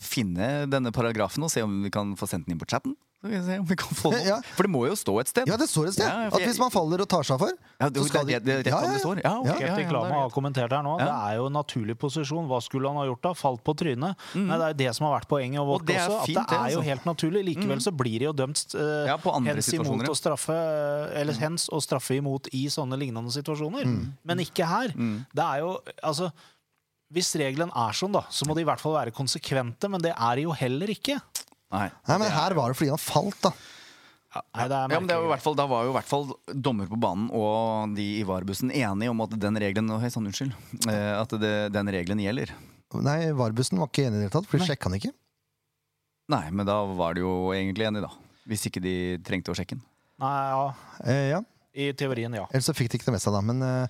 finne denne paragrafen og se om vi kan få sendt den inn på chatten? Så kan vi se om vi kan få den opp.
Eh, Ja.
For det må jo stå et sted.
Ja, det står et sted
Ja, for
at
jeg-
hvis man faller og tar seg for,
Ja, det,
så skal
det, det, det, er rett
Ja,
som det
ja,
står. Ja, ok, ja,
Kjetil
ja,
Klame
det er
har kommentert her nå.
Ja.
Det er jo en naturlig posisjon. Hva skulle han ha gjort da? Falt på trynet? Nei, det er jo det som har vært poenget. Og
Mm. Og
vårt
det er
også, at
fint,
det er jo
det, altså. Mm.
helt naturlig. Likevel så blir det jo dømt eh,
Ja, på andre
hens imot
situasjoner, ja. Mm.
og straffe eh, Eller hens og straffe imot i sånne lignende situasjoner. Men ikke her.
Mm.
Det er jo Altså, hvis regelen er sånn, da, så må de i hvert fall være konsekvente, men det er de jo heller ikke.
Nei.
Nei, men her var det fordi han falt, da.
Nei, det er
Ja, men det er jo i
merkelig.
hvert fall, da var jo i hvert fall dommer på banen og de i varebussen enige om at den regelen Hei sann, unnskyld. eh, At det, den regelen gjelder.
Nei, Varbussen var ikke enig i det hele tatt, for de sjekka han ikke.
Nei, men da var de jo egentlig enige, da. Hvis ikke de trengte å sjekke den.
Nei, ja.
Eh, ja.
I teorien, ja.
Ellers så fikk de ikke det med seg, da. Men eh,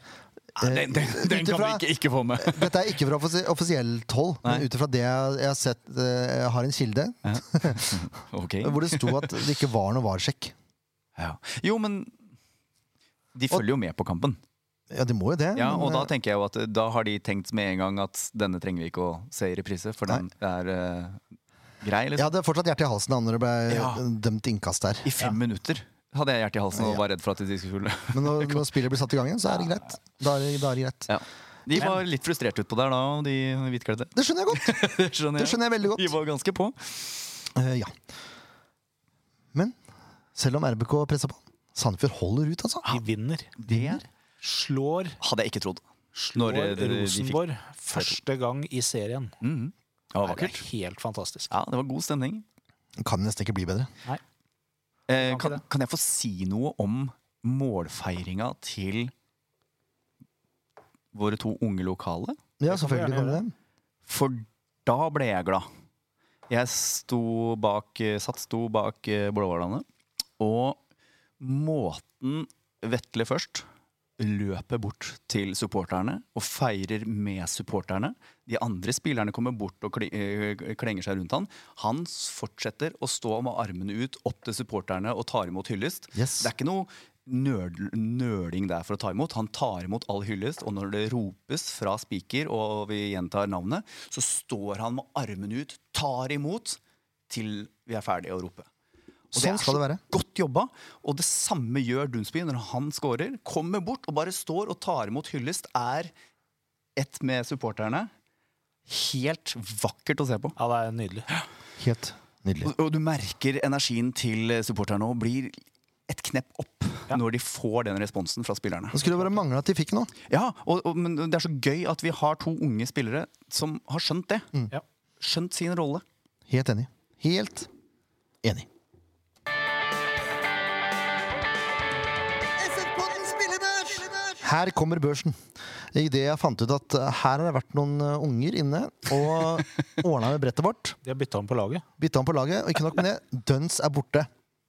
den- den- den kan vi ikke-
få med.
Dette er ikke fra offisi- offisielt hold, men
Nei.
ut ifra det jeg, jeg har sett eh, Jeg har en kilde
Ok.
hvor det sto at det ikke var noe varsjekk.
Ja. Jo, men de følger jo med på kampen.
Ja, de må jo det.
Ja,
men,
og da
eh,
tenker jeg jo at eh, da har de tenkt med en gang at denne trenger vi ikke å se i reprise, for den er eh, grei.
jeg
Liksom.
hadde fortsatt hjertet i halsen da når det ble
Ja.
eh, dømt innkast der.
I fem minutter hadde jeg hjertet i halsen og var redd for at de skulle
Men når, når spillet blir satt i gang igjen, så er det greit. Da er det, da er det greit.
ja. De var litt frustrert utpå der da, de hvitkledde.
Det skjønner jeg godt.
Det skjønner
Det skjønner jeg veldig godt.
De var ganske på.
Eh, ja. Men selv om RBK presser på, Sandefjord holder ut, altså.
De vinner.
Det
Slår
hadade jeg ikke trodd.
Slår
eh, de- de fikk-
Rosenborg første gang i serien.
Mhm. Det var
Det er
vakkert.
helt fantastisk.
Ja, det var god stemning.
Kan nesten ikke bli bedre.
Nei.
Eh,
Kan ikke
kan,
det.
kan jeg få si noe om målfeiringa til våre to unge lokale?
Ja,
kan vi
selvfølgelig
gjerne
kan vi det.
For da ble jeg glad. Jeg sto bak, eh, satt sto bak eh, Blåhvalene, og måten Vetle først løper bort til supporterne og feirer med supporterne. De andre spillerne kommer bort og kli- eh, klenger seg rundt han. Han s- fortsetter å stå med armene ut opp til supporterne og tar imot hyllest.
Yes.
Det er ikke noe nerd, nøling der for å ta imot. Han tar imot all hyllest, og når det ropes fra spiker, og vi gjentar navnet, så står han med armene ut, tar imot, til vi er ferdige å rope. Og
Sånn skal det
så
være.
Godt jobba. Og det samme gjør Dunsby når han scorer. Kommer bort og bare står og tar imot hyllest. Er ett med supporterne. Helt vakkert å se på.
Ja, det er nydelig.
Helt nydelig.
Og, og du merker energien til eh, supporterne og blir et knepp opp når de får den responsen fra spillerne.
Det skulle bare mangle at de fikk noe.
Ja, og, og, men Det er så gøy at vi har to unge spillere som har skjønt det.
Ja.
Skjønt sin rolle.
Helt enig. Helt enig. Her kommer børsen. Idet jeg fant ut at eh, her har det vært noen eh, unger inne og ordna med brettet vårt.
De har bytta om på laget.
Bytta han på laget, og ikke nok med det, Duns er borte.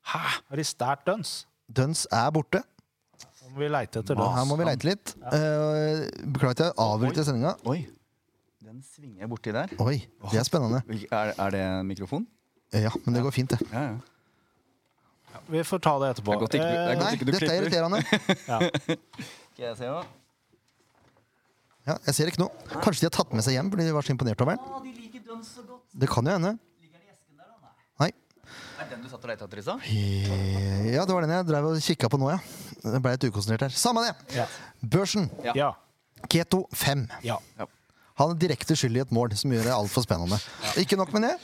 Hæ? Har de stært Duns?
Duns er borte.
Nå må vi leite etter
Og her
Duns.
må vi leite litt. Eh, Beklager at jeg avbryter sendinga.
Oi, den svinger jeg borti der.
Oi, det er spennende.
Er, er det en mikrofon?
Ja, men det går fint, det.
Ja, ja.
Vi får ta det etterpå. Eh,
Det er godt ikke du- det Eh, er
Nei,
godt ikke du
dette er
klipper.
irriterende.
Skal jeg se, da?
Ja, jeg ser ikke noe. Kanskje de har tatt med seg hjem fordi de var så imponert over den?
Å, de liker Duns så godt.
Det kan jo hende.
Ligger den i esken der, da? Nei.
Nei.
Er den du satt og leita etter i stad?
Eh, Ja, det var den jeg drev og kikka på nå, ja. Jeg ble litt ukonsentrert her. Samme det!
Ja.
Børsen.
Ja.
Keto 5.
ja.
Han er direkte skyld i et mål som gjør det altfor spennende. Ikke nok med det.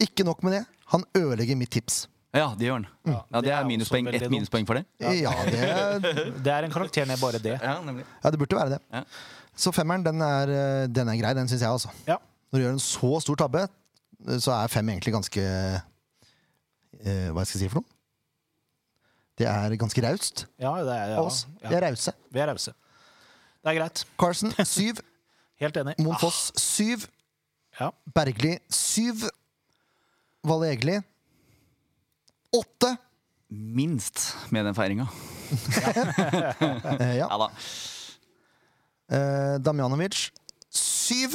Ikke nok med det. Han ødelegger mitt tips.
Ja, det gjør den. Ja, Mm. det,
det er
er,
også
minuspoeng.
veldig
Ett
dumt.
minuspoeng for det.
Ja, det,
Det er en karakter ned bare det.
Ja, nemlig.
ja, det burde være det.
Ja.
Så femmeren, den er, eh, den er grei, den syns jeg, altså.
Ja.
Når du gjør en så stor tabbe, eh, så er fem egentlig ganske eh, Hva skal jeg si for noe? Det er ganske raust
Ja, det er,
av oss.
ja.
Vi
ja.
er rause.
Vi er rause. Det er greit.
Carson syv.
Helt enig.
Monfoss syv.
Ja.
Bergli syv. Valle Egli åtte.
Minst med den feiringa.
Eh, ja.
Ja da.
Eh, Damjanovic syv.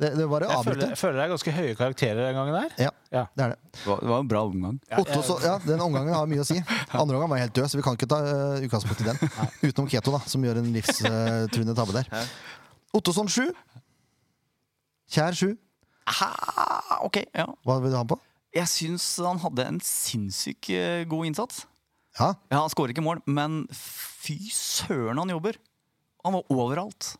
Det, det var å
Jeg føler,
avbryte.
jeg føler det er ganske høye karakterer den gangen der.
Ja,
Ja.
det er det.
Det var, det var en bra omgang.
Otto, så, ja, den omgangen har mye å si. Andre omgang var helt død, så vi kan ikke ta eh, utgangspunkt i den. Utenom Keto, da, som gjør en livstruende tabbe der. Ottosson sju. Kjær sju.
Aha, ok, ja.
Hva vil du ha den på?
Jeg syns han hadde en sinnssykt eh, god innsats.
Ja,
Ja, Han skårer ikke mål, men fy søren han jobber! Han var overalt.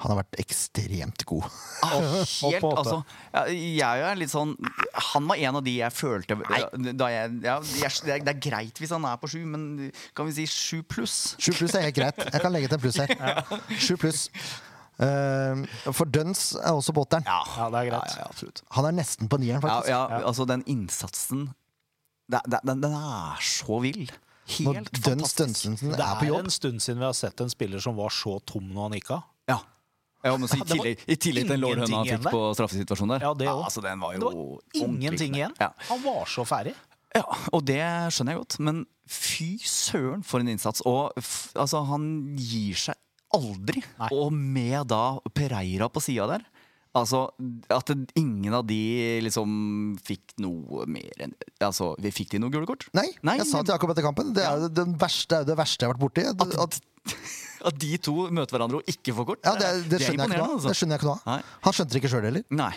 han har vært ekstremt god.
Ah,
opp
Helt,
på åtte.
altså, ja, jeg er litt sånn Han var en av de jeg følte da jeg, ja, jeg, Det er- det er greit hvis han er på sju, men kan vi si sju pluss?
Sju pluss er helt greit. Jeg kan legge til en pluss her. Sju pluss. Eh, for Duns er også på åtteren.
Ja, det er greit.
Ja, ja, ja, absolutt.
Han er nesten på nieren,
Ja,
faktisk.
ja, altså den innsatsen det, det, den, den er så vill.
Når
Helt
Duns
fantastisk.
Dunsensen
Det
er på
er
jobb.
en stund siden vi har sett en spiller som var så tom når han gikk av.
Ja. ja, men så
Det
I
var
tillegg, i tillegg til den lårhøna han
ingenting igjen
fikk på straffesituasjonen der.
Ja, det også.
altså, den var
Det
jo
var
ordentlig
ingenting
knep.
igjen.
Ja.
Han var så ferdig.
Ja, og det skjønner jeg godt. Men fy søren for en innsats. Og f altså, han gir seg aldri.
Nei.
Og med da Pereira på sida der Altså, At det- ingen av de liksom fikk noe mer enn Altså, vi fikk de noe gule kort?
Nei, jeg sa til Jakob etter kampen. Det er jo den verste, det er jo det verste jeg har vært borti.
at,
At,
at de to møter hverandre og ikke får kort?
ja, det, det, skjønner jeg ikke
imponerende, altså.
noe. av. det skjønner jeg ikke noe av.
Nei.
Han skjønte det ikke sjøl heller.
Nei.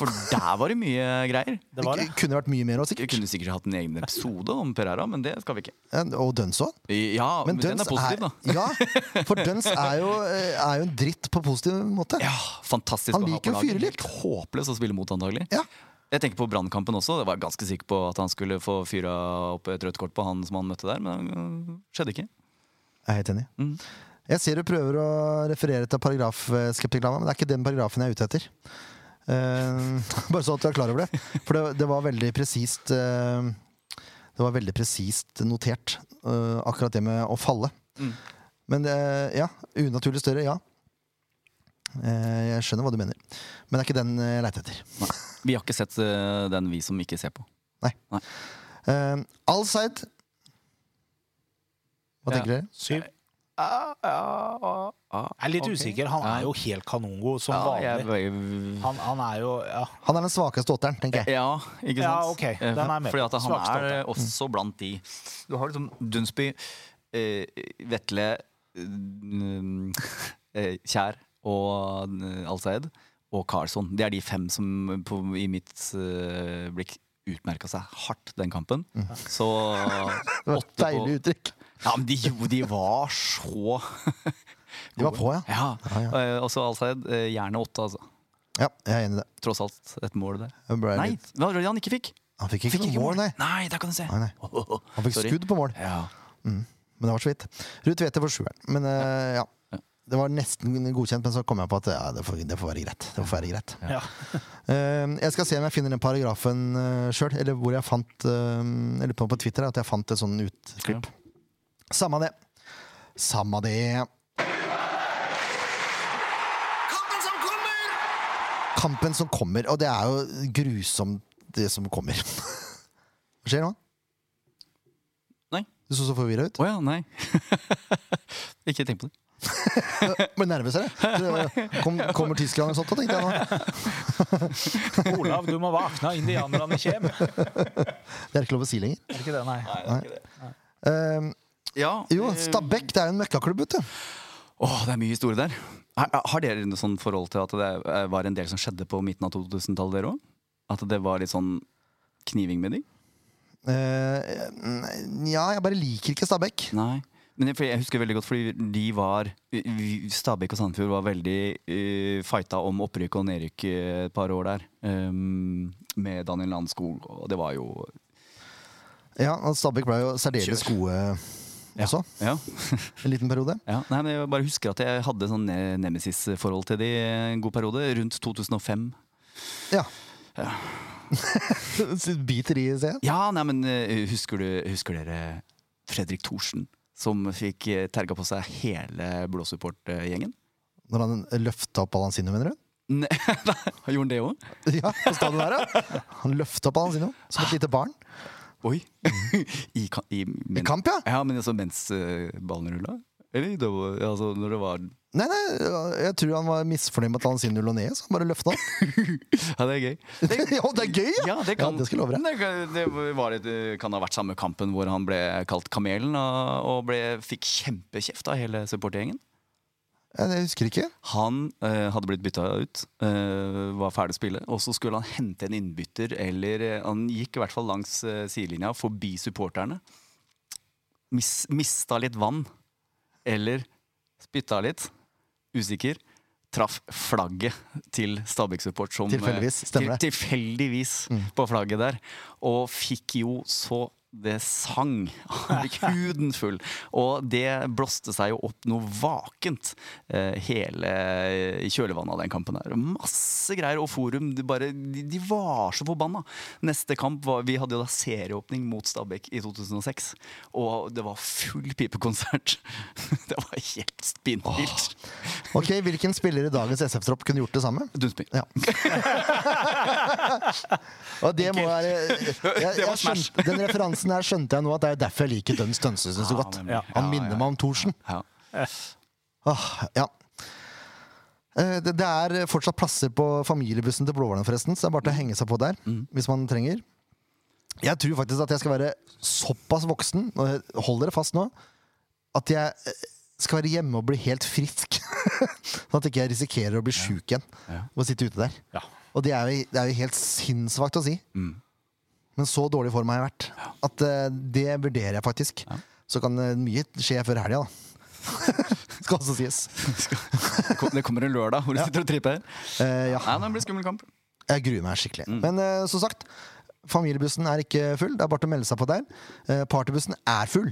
For der var det mye greier.
Det var det.
Det kunne vært mye mer òg,
Vi
sikkert.
kunne sikkert hatt en egen episode om Per Herra, men det skal vi ikke.
Og Duns òg.
Ja, men, den er positiv, da.
ja, for Duns er jo, eh, er jo en dritt på positiv måte.
Ja, fantastisk
Han
å ha
liker
på
å
laget.
fyre litt.
Helt Håpløs å spille mot, antagelig.
Ja.
Jeg tenker på brannkampen også. Jeg var ganske sikker på at han skulle få fyra opp et rødt kort på han som han møtte der, men det skjedde ikke.
Jeg er helt enig.
Mm.
Jeg ser du prøver å referere til paragrafskeptiklama, men det er ikke den paragrafen jeg er ute etter. Eh, bare så at du er klar over det. For det, det var veldig presist eh, Det var veldig presist notert, eh, akkurat det med å falle.
Mm.
Men eh, ja. Unaturlig større, ja. Eh, jeg skjønner hva du mener. Men det er ikke den eh, jeg leter etter.
Nei. Vi har ikke sett eh, den, vi som ikke ser på.
Uh, Alside Hva
Ja.
tenker dere?
Syv. Jeg er litt usikker. Han er jo helt kanongod, som
ja, jeg,
vanlig. Han, han er jo ja.
Han er den svakeste åtteren, tenker jeg.
ja, ikke sant? Eh,
Ja, ok, den er jeg med på.
Fordi at han
Svakeste
er eh, også blant de Du har liksom Dunsby, eh, Vetle, eh, mm, eh, Kjær og eh, Alseid og Karlsson. Det er de fem som på, i mitt eh, blikk utmerka seg hardt den kampen. Så
Det var et
åtte på-
deilig uttrykk.
Ja, men de, jo, de var så
De var på, ja.
Ja.
Ja, ja.
eh, Også Alseid. eh, Gjerne åtte, altså.
Ja, jeg er enig i det.
Tross alt et mål der.
Jeg ble
Nei,
litt-
hva var det han ikke fikk?
Han fikk ikke noe mål, nei.
Nei, der kan du se.
Nei, nei. Han fikk skudd på mål,
Ja.
men det var så vidt. Ruud Tvedte for sjueren. Men eh, ja. Det var nesten godkjent, men så kom jeg på at ja, det, får, det får være greit. Det får være greit.
Ja.
Eh, jeg skal se om jeg finner den paragrafen uh, sjøl, eller hvor jeg fant uh, Jeg lurer på på Twitter at jeg fant et sånn utklipp. Samma det. Samma det.
Kampen som kommer!
Kampen som kommer, og det er jo grusomt, det som kommer. Hva skjer nå?
Nei.
Du så så forvirra ut.
Å ja, nei. ikke tenk på det.
Ble nervøs, eller? Kom, kommer Tyskland og sånt, da, tenkte jeg nå.
Olav, du må våkne, indianerne kjem. Er
Det er ikke lov å si lenger.
det ikke det, nei?
Eh,
Ja,
jo,
eh,
Stabæk, det er jo en møkkaklubb, vet du.
Åh, det er mye historie der. Har, har dere noe sånn forhold til at det eh, var en del som skjedde på midten av 2000-tallet, dere òg? At det var litt sånn kniving med de?
Eh, ja, jeg bare liker ikke Stabæk.
Nei. Men jeg, for jeg husker veldig godt, fordi de var vi- Stabæk og Sandefjord var veldig eh, fighta om opprykk og nedrykk eh, et par år der. ehm, med Daniel Landskog, og det var jo
Ja, og Stabæk ble jo særdeles gode også,
Ja.
en liten periode.
ja. Nei, men jeg bare husker at jeg hadde sånn ne- nemesis-forhold til de en god periode, rundt 2005.
Ja. Så Biter i seg.
Ja, nei, men eh, husker, du, husker dere Fredrik Thorsen? Som fikk eh, terga på seg hele blå support-gjengen?
Når han løfta opp Alansino, mener du?
Ne- Gjorde han det òg?
Ja, på stadion der, ja. Han løfta opp Alansino som et lite barn.
Oi! I, ka- i,
I
men,
kamp, ja!
Ja, men altså mens eh, ballen rulla? Eller det var, altså, når det var
Nei, nei, jeg tror han var misfornøyd med at Alansino lå ned, så han bare løfta opp.
Ja, det er gøy. Det,
Jo, det er gøy, ja!
ja, det kan
det skal jeg love deg.
det kan- det var et, eh, kan ha vært samme kampen hvor han ble kalt Kamelen og, og ble, fikk kjempekjeft av hele supportergjengen.
Jeg husker ikke.
Han eh, hadde blitt bytta ut, eh, var ferdig å spille, og så skulle han hente en innbytter, eller eh, han gikk i hvert fall langs eh, sidelinja, forbi supporterne. Mis, mista litt vann, eller spytta litt, usikker. Traff flagget til Stabæk Support. Som, eh,
Tilfeldigvis, stemmer Mm.
til, Tilfeldigvis på flagget der. Og fikk jo så det sang. Han fikk huden full. Og det blåste seg jo opp noe vakent eh, hele i kjølvannet av den kampen her. Masse greier. Og Forum, de, bare, de, de var så forbanna. Neste kamp var Vi hadde jo da serieåpning mot Stabæk i 2006. Og det var full pipekonsert. det var helt spinnvilt.
Ok, Hvilken spiller i dagens SF-tropp kunne gjort det samme?
Dunsby.
Ja. Og det må være jeg,
Det var
jeg
smash.
skjønte, Den referansen her skjønte jeg nå at det er derfor jeg liker Duns Tønsesen så
Ja,
godt.
nemlig.
Han
Ja,
minner
ja,
meg om Thorsen.
Ja.
Åh, Ah, ja. Eh, Det, det er fortsatt plasser på familiebussen til Blåhvalene, forresten, så det er bare til å
Mm.
henge seg på der hvis man trenger. Jeg tror faktisk at jeg skal være såpass voksen, og hold dere fast nå, at jeg eh, skal være hjemme og bli helt frisk. Sånn at ikke jeg risikerer å bli sjuk igjen
Ja.
og sitte ute der.
Ja.
Og det er jo, det er jo helt sinnssvakt å si. Men så dårlig form har jeg vært at eh, det vurderer jeg faktisk. Så kan eh, mye skje før helga, da. Skal også sies.
Kom- Det kommer en lørdag hvor du sitter og tripper.
Eh, ja.
Nei, det blir skummel kamp.
Jeg gruer meg skikkelig. Men eh, som sagt, familiebussen er ikke full. Det er bare til å melde seg på der. Eh, partybussen er full.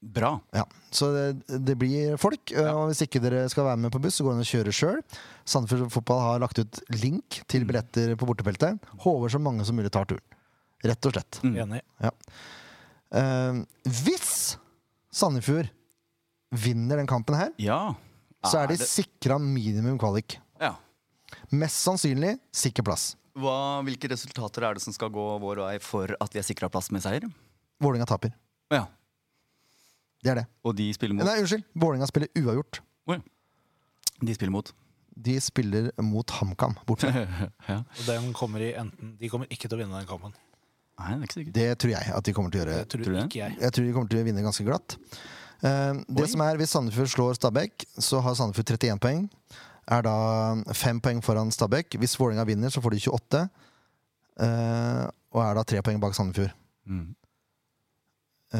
Bra.
Ja, Så det, det blir folk. eh, Og hvis ikke dere skal være med på buss, så går det an å kjøre sjøl. Sandefjord Fotball har lagt ut link til billetter på bortefeltet. Håper så mange som mulig tar turen. Rett og slett.
Mm.
Enig.
Ja. Eh, hvis Sandefjord vinner den kampen her,
Ja.
så er de sikra minimum kvalik.
ja.
Mest sannsynlig sikker plass.
Hva, hvilke resultater er det som skal gå vår vei for at vi er sikra plass med seier?
Vålinga taper.
Ja.
Det er det.
Og de spiller mot?
Nei, unnskyld. Vålinga spiller uavgjort.
Oi. De spiller mot.
De spiller mot HamKam borte.
ja.
Og den kommer i enten De kommer ikke til å vinne den kampen.
Nei, det er ikke sikkert.
Det tror jeg at de kommer til å gjøre.
Det tror,
Tror du det?
ikke jeg.
Jeg tror de kommer til å vinne ganske glatt. Eh, Det
Oi.
som er Hvis Sandefjord slår Stabæk, så har Sandefjord 31 poeng. Er da fem poeng foran Stabæk. Hvis Vålerenga vinner, så får de 28. eh, Og er da tre poeng bak Sandefjord.
Mm.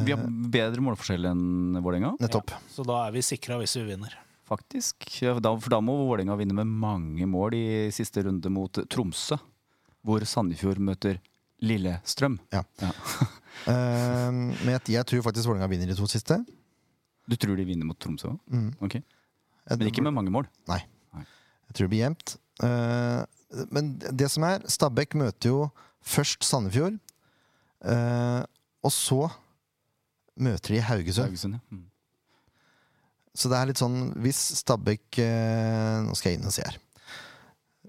Vi har bedre målforskjell enn Vålerenga,
Nettopp.
Så da er vi sikra hvis vi vinner.
faktisk. Ja, da- For da må Vålerenga vinne med mange mål i siste runde mot Tromsø, hvor Sandefjord møter Lillestrøm.
Ja.
Ja.
Eh, Men jeg- jeg tror faktisk Vålerenga vinner de to siste.
Du tror de vinner mot Tromsø òg?
Mm.
Ok.
Jeg-
Men ikke med mange mål?
Nei.
Nei.
Jeg tror det blir jevnt. Eh, men det som er, Stabæk møter jo først Sandefjord. eh, og så møter de Haugesund.
Haugesund, ja. Mm.
Så det er litt sånn Hvis Stabæk eh, Nå skal jeg inn og se her.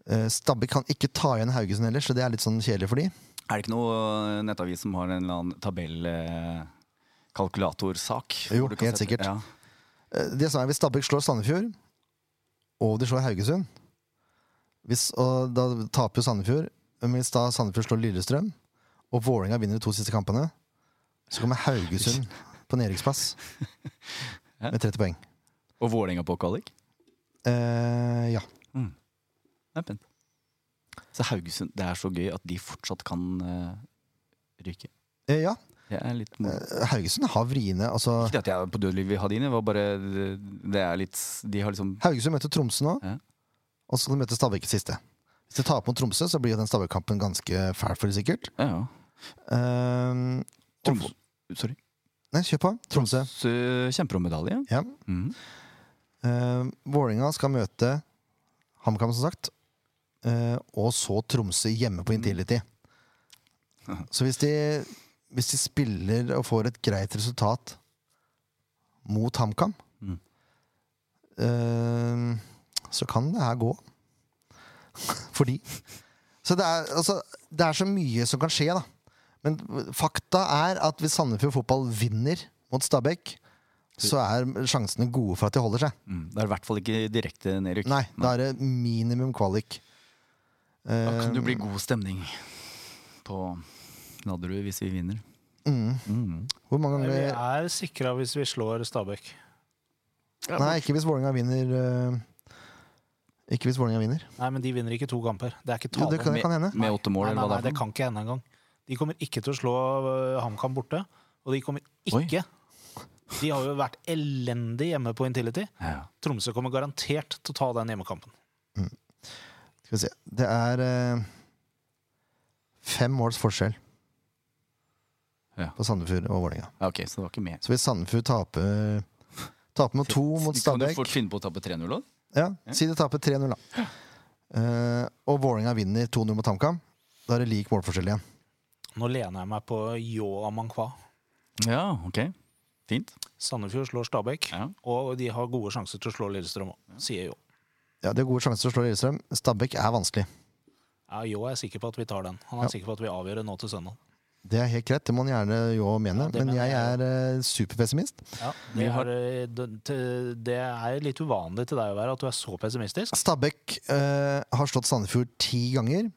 Eh, Stabæk kan ikke ta igjen Haugesund heller, så det er litt sånn kjedelig for de.
Er det ikke noe eh, nettavis som har en eller annen eh, tabellkalkulatorsak?
Jo, helt sikkert.
Ja.
Eh, det som er, hvis Stabæk slår Sandefjord, og de slår Haugesund hvis, og Da taper jo Sandefjord. Men hvis da Sandefjord slår Lillestrøm, og Vålerenga vinner de to siste kampene, så kommer Haugesund på nedrykksplass med 30 poeng.
Og Vålerenga på kvalik?
Eh, ja.
Jeg er spent. Så Haugesund, det er så gøy at de fortsatt kan eh, ryke.
Eh, ja.
Det er litt moro.
Eh, Haugesund har vriene. Altså,
Ikke det at jeg på dødelig vil ha dine, det var bare Det er litt De har liksom
Haugesund møter Tromsø nå,
Ja.
og så skal de møte Stabæk i siste. Hvis de taper mot Tromsø, så blir jo den Stabæk-kampen ganske fæl for dem, sikkert.
Ja, ja.
Eh,
Tromsø Sorry.
nei, kjør på. Tromsø.
Så eh, kjemper om medalje.
Ja.
Mhm.
Uh, Vålinga skal møte HamKam, som sagt. eh, og så Tromsø hjemme på Intility. Så hvis de, hvis de spiller og får et greit resultat mot HamKam,
Mm.
eh, så kan det her gå. Fordi Så det er, altså, det er så mye som kan skje, da. Men fakta er at hvis Sandefjord fotball vinner mot Stabæk, så er sjansene gode for at de holder seg.
Mm. Det er i hvert fall ikke direkte nedrykk.
Nei, da er det minimum kvalik.
Da kan det
Eh,
bli god stemning på Nadderud hvis vi vinner. Mhm.
mm. Hvor mange
Vi
ganger
er sikra hvis vi slår Stabæk.
Nei, ikke hvis Vålerenga vinner eh, Ikke hvis Vålerenga vinner.
Nei, men de vinner ikke to kamper. Det er ikke
Jo,
tale.
det kan, det kan hende.
Med åtte mål,
nei, nei,
eller hva
nei,
det
det
er for
kan
noe?
ikke hende engang. De kommer ikke til å slå øh, HamKam borte. Og de kommer
Oi.
ikke De har jo vært elendige hjemme på Intility.
Ja.
Tromsø kommer garantert til å ta den hjemmekampen.
Skal vi se. Det er eh, fem måls forskjell
Ja.
på Sandefjord og Vålerenga.
Ja, ok, så det var ikke mer.
Så hvis Sandefjord taper Taper med to mot
Kan du
Stabæk
fort finne på å tape 3-0 òg?
Ja, Si de taper 3-0, da. Eh, og Vålerenga vinner 2-0 mot HamKam. Da er det lik målforskjell igjen.
Nå lener jeg meg på Yo Amankwa.
Ja, ok. Fint.
Sandefjord slår Stabæk,
Ja.
og de har gode sjanser til å slå Lillestrøm òg, sier Yo.
Ja, De har gode sjanser til å slå Lillestrøm. Stabæk er vanskelig.
Ja, Yo er sikker på at vi tar den. Han er sikker på at vi avgjør det nå til søndag.
Det er helt greit, det må man gjerne jo mene,
det
men
mener
jeg
jeg
er eh, superpessimist.
Ja,
Vi
det,
har-
er, øh, det- til- det er litt uvanlig til deg å være at du er så pessimistisk.
Stabæk eh, har slått Sandefjord ti ganger.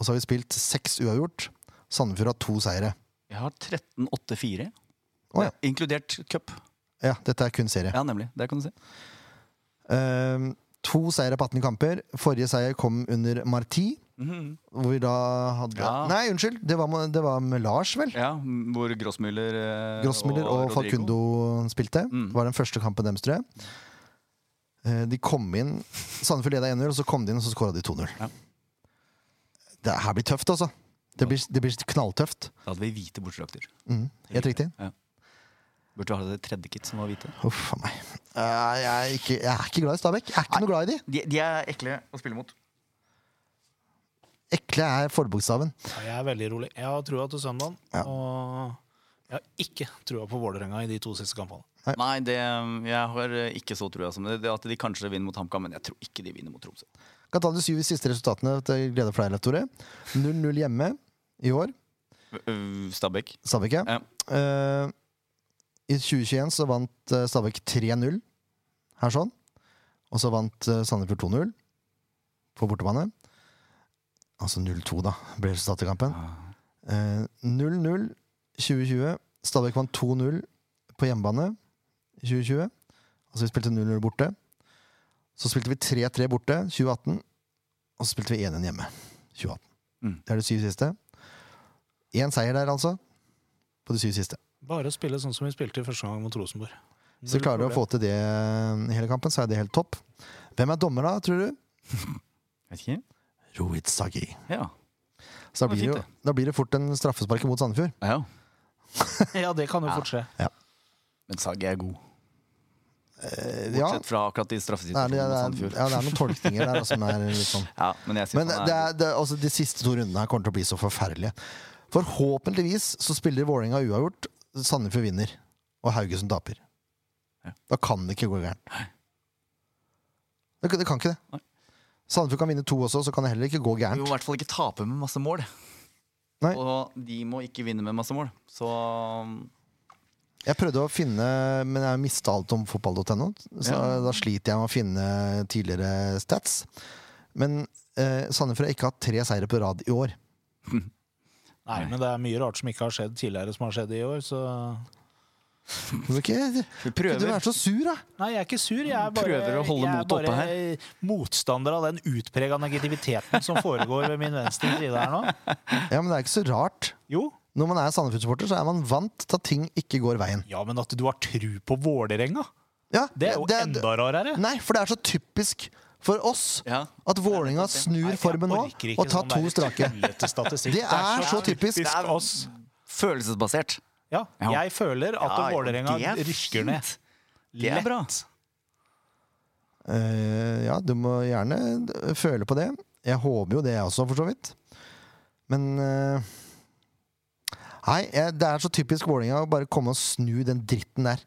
Og så har vi spilt seks uavgjort. Sandefjord har to seire.
Jeg har 13-8-4.
Å, ja.
Inkludert cup.
Ja, dette er kun serie.
Ja, nemlig. Der kan du se.
Eh, To seire på 18 kamper. Forrige seier kom under Marti.
Mhm.
Hvor vi da hadde
Ja.
Nei, unnskyld! Det var, med- det var med Lars, vel?
Ja, hvor Grossmüller eh,
Grossmiller og,
Rodrigo. Mm.
Falcundo spilte. Det var den første kampen deres, tror jeg. Eh, De kom inn Sandefjord leda 1-0, og så kom de inn, og så skåra de 2-0.
Ja.
Det her blir tøft, altså. Det blir, det blir knalltøft.
Da hadde vi hvite bortedrakter.
Mm, helt riktig.
Ja. Burde ha det tredje kit som var hvite.
Uff a meg. Eh, Jeg er, ikke, jeg er ikke glad i Stabæk. Jeg er ikke noe glad i de.
De, de er ekle å spille mot.
Ekle er forbokstaven.
Ja, jeg er veldig rolig. Jeg har trua til søndagen.
Ja.
Og jeg har ikke trua på Vålerenga i de to siste kampene.
Nei, det, jeg har eh, ikke så trua som det. det at de kanskje vinner mot HamKam, men jeg tror ikke de vinner mot Tromsø.
Kan ta de syv siste resultatene til glede for deg, Leif Tore. 0-0 hjemme i år.
Øh, Stabæk.
Stabæk, ja.
Ja.
Eh, I 2021 så vant eh, Stabæk 3-0 her sånn. Og så vant eh, Sandefjord 2-0 på bortebane. Altså 0-2, da, ble resultatet i kampen. Eh, 0-0 2020. Stabæk vant 2-0 på hjemmebane i 2020. Altså vi spilte 0-0 borte. Så spilte vi 3-3 borte 2018. Og så spilte vi 1-1 hjemme 2018.
Mm.
Det er de syv siste. Én seier der, altså. På de syv siste.
Bare spille sånn som vi spilte i første gang mot Rosenborg.
Hvis vi klarer å få til det i hele kampen, så er det helt topp. Hvem er dommer, da, tror du?
Vet ikke.
Rohit Sagi.
Ja.
Så da
Det var
blir, det,
fint,
jo- da blir det fort en straffespark mot Sandefjord.
ja.
Ja, det kan jo fort skje.
Men Sagi er god.
Eh, ja,
Bortsett fra akkurat de
det er, det,
straffesituasjonene mot
er,
Sandefjord.
ja, det er noen tolkninger der da, som er litt sånn
Ja, men jeg synes
Men
han
det er, det er, altså, de siste to rundene her kommer til å bli så forferdelige. Forhåpentligvis så spiller Vålerenga uavgjort, Sandefjord vinner, og Haugesund taper.
Ja.
Da kan det ikke gå gærent. Det, kan- det kan ikke
Nei.
det. Sandefjord kan vinne to også, så kan det heller ikke gå
Vi må i
gærent.
hvert fall ikke tape med masse mål.
Nei.
Og de må ikke vinne med masse mål. Så um,
Jeg prøvde å finne, men jeg mista alt om fotball.no, så
Ja.
da sliter jeg med å finne tidligere stats. Men eh, Sandefjord har ikke hatt tre seire på rad i år.
Nei, men det er mye rart som ikke har skjedd tidligere, som har skjedd i år, så
Du må ikke,
vi
du
prøver.
er så sur, da!
Nei, jeg er ikke sur. Jeg er bare,
Prøver å holde
jeg er
motet oppe
bare motstander av den utprega negativiteten som foregår ved min venstre side her nå.
Ja, men det er ikke så rart.
Jo.
Når man er Sandefjord-supporter, så er man vant til at ting ikke går veien.
Ja, men at du har tru på Vålerenga,
Ja,
det er jo enda rarere.
Nei, for det er så typisk for oss
Ja.
at Vålinga snur formen nå og
sånn
tar to strake. Det er så typisk.
Det er
oss.
Følelsesbasert.
Ja,
Ja.
jeg føler at
Ja, ja,
Vålerenga
det er
rykker ned.
fint. Det er
Lett.
bra.
Eh, ja, du må gjerne d- føle på det. Jeg håper jo det, jeg også, for så vidt. Men eh, Nei, jeg, det er så typisk Vålinga å bare komme og snu den dritten der.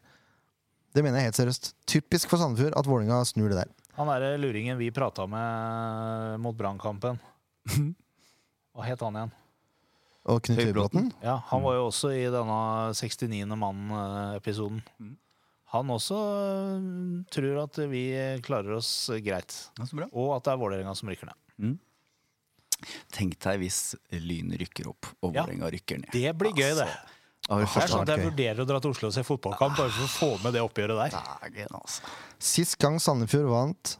Det mener jeg helt seriøst. Typisk for Sandefjord at Vålinga snur det der.
Han derre luringen vi prata med eh, mot Brannkampen. Hva het han igjen?
Og Knut Høybråten.
Høybråten.
Ja, Han var jo også i denne 69. mann-episoden.
Mm.
Han også øh, tror at vi klarer oss greit,
Ja, så bra.
og at det er Vålerenga som rykker ned.
Tenk deg hvis Lyn rykker opp, og
Ja.
Vålerenga rykker ned.
Det blir gøy, det.
Altså, Da har vi
Det er
først
sånn at Jeg
gøy.
vurderer å dra til Oslo og se fotballkamp bare for å få med det oppgjøret der.
dagen, altså.
Sist gang Sandefjord vant